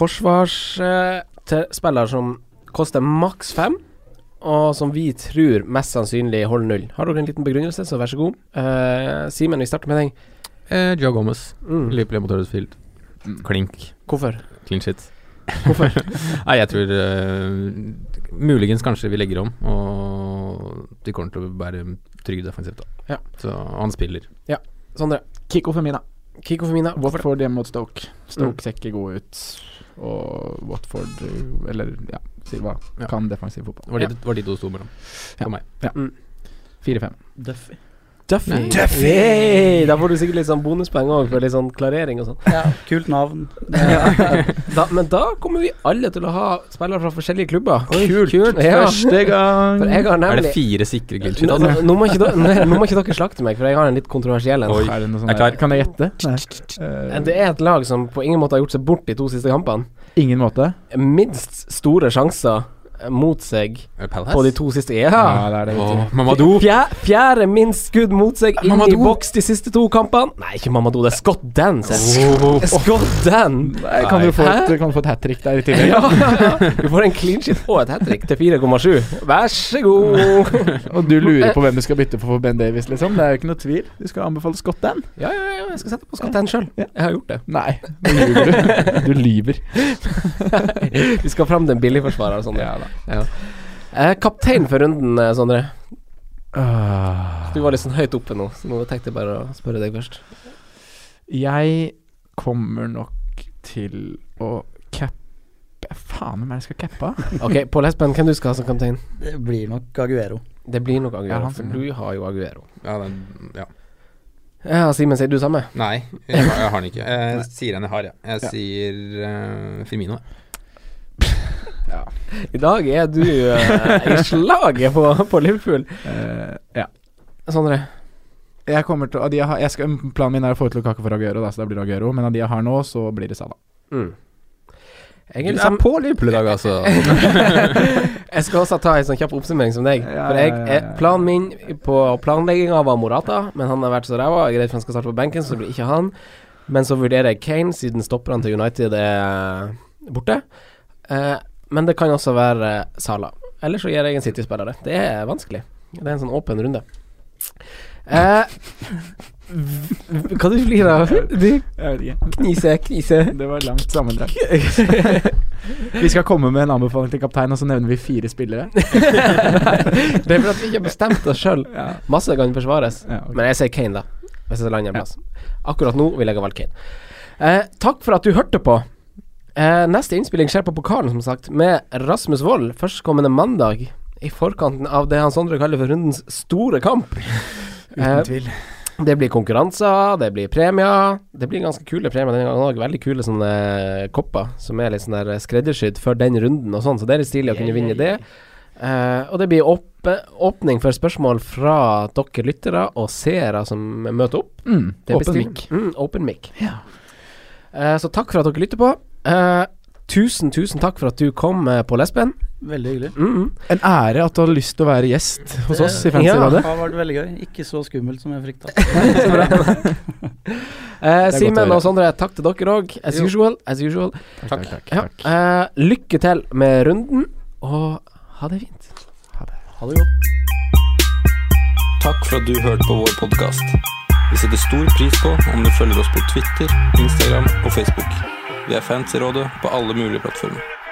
forsvarsspiller som koster maks fem, og som vi tror mest sannsynlig holder null. Har dere en liten begrunnelse, så vær så god. Eh, Simen, vi starter med deg. Eh, Joe Gomez. Mm. Liverpool mot Huddersfield. Mm. Klink. Hvorfor? Clean shit. Hvorfor? Nei, jeg tror eh, Muligens kanskje vi legger om, og de kommer til å være trygge defensivt, da. Ja. Så han spiller. Sondre. Kikko Femina. Kiko Femina. Hvorfor? Watford hjemme mot Stoke. Stoke ser ikke god ut, og Watford eh, Eller ja, Silva Ja. kan defensiv fotball. Var de, var de to sto mellom. Ja. For meg. 4-5. Duffy. Duffy. Nei. Yay! Da får du sikkert litt sånn bonuspoeng òg, for litt sånn klarering og sånn. Kult navn. Da, men da kommer vi alle til å ha spillere fra forskjellige klubber. Ja. Første gang! For jeg har Er det nemlig fire sikre gull shit? nå, Altså? nå, nå, må ikke dere- nei, nå må ikke dere slakte meg, for jeg har en litt kontroversiell en. Oi. Er det noe sånn Jeg er klar. der? Kan jeg gjette? Nei. Eh, Det er et lag som på ingen måte har gjort seg bort de to siste kampene. Eh, ingen måte? Minst store sjanser eh, mot seg Palace? på de to siste. Ja! det er det. vet du. Åh, Mamadou! Fjer- Fjerde minst skudd mot seg inn i Mamadou. boks de siste to kampene. Nei, ikke Mamadou, det er Scott Dan. sier jeg. Åh. Scott Dan! Nei, kan, du få Hæ? et, kan du få et hat trick der i tillegg? Ja, du får en clean shit og et hat trick til 4,7. Vær så god. Og du lurer på hvem du skal bytte på for Ben Davies, liksom? Det er jo ikke noe tvil. Du skal anbefale Scott Dan. Ja, ja, ja, jeg skal sette på Scott Dan sjøl. Ja. Jeg har gjort det. Nei, nå lyver du. Du lyver. Vi skal fram til en billigforsvarer og sånn. Ja da. Eh, kaptein for runden, eh, Sondre. Ah. Du var litt sånn høyt oppe nå, så nå tenkte jeg bare å spørre deg først. Jeg kommer nok til å cappe Faen, hvem er det jeg skal cappe? Ok, Pål Espen, hvem du skal ha som kaptein? Det blir nok Aguero. Det blir nok Ja, Aguero, han- for du har jo Aguero. Ja, den, ja. Ja, Simen, sier du samme? Nei, jeg, har- jeg har den ikke. Jeg sier den jeg har, jeg. Ja. Jeg sier eh, Firmino. I dag er du eh, i slaget på, på Liverpool. Eh, ja. Sondre. Jeg kommer til, av de jeg har, jeg skal, planen min er å få ut Lukaku for Aguero, da, så da blir det Aguero. Men av de jeg har nå, så blir det Salah. Mm. Jeg Du er liksom- litt er sammen på Liverpool i dag, altså. Jeg skal også ta en sånn kjapp oppsummering som deg. Ja, For jeg, ja, ja, jeg, ja. Planen min på planlegginga var Morata, men han har vært så ræva. Jeg er redd for han skal starte på benken, så det blir ikke han. Men så vurderer jeg Kane, siden stopperne til United er borte. Eh, men det kan også være Sala. Eller så gir jeg en City-spiller det. Det er vanskelig. Det er en sånn åpen runde. Eh, v- hva du flirer av? Du Jeg vet ikke. kniser, kniser. Det var langt sammendrag. Vi skal komme med en anbefaling til kaptein, og så nevner vi fire spillere. det er fordi vi ikke har bestemt oss sjøl. Ja, Masse kan forsvares. ja, ok. Men jeg sier Kane, da. Hvis jeg skal lande en plass. Akkurat nå vil jeg ha valgt Kane. Eh, takk for at du hørte på. Eh, neste innspilling skjer på pokalen, som sagt, med Rasmus Wold førstkommende mandag. I forkanten av det han Sondre kaller for rundens store kamp. Eh, Uten tvil. det blir konkurranser, det blir premier. Det blir ganske kule premier denne gangen òg. Veldig kule sånne kopper som er litt sånn der skreddersydd for den runden og sånn, så det er litt stilig å kunne vinne det. Eh, og det blir åp åpning for spørsmål fra dere lyttere og seere som møter opp. Mm, Det er åpen bestill- mic. Mm, open mic. Eh, så takk for at dere lytter på. Eh, tusen, tusen takk for at du kom, eh, Pål Espen. Veldig hyggelig. Eh, Mm, mm. En ære at du hadde lyst til å være gjest hos oss i Fancy Eh, Ja. Det Rådet. har vært veldig gøy. Ikke så skummelt som jeg frykta. Så bra. Eh, godt å Simen høre. og Sondre, takk til dere òg. As Jo. usual. As usual. Takk, takk, Ja, takk. eh, lykke til med runden, og ha det fint. Ha det godt. Takk for at du hørte på vår podkast. Vi setter stor pris på om du følger oss på Twitter, Instagram og Facebook. Vi er fans i rådet på alle mulige plattformer.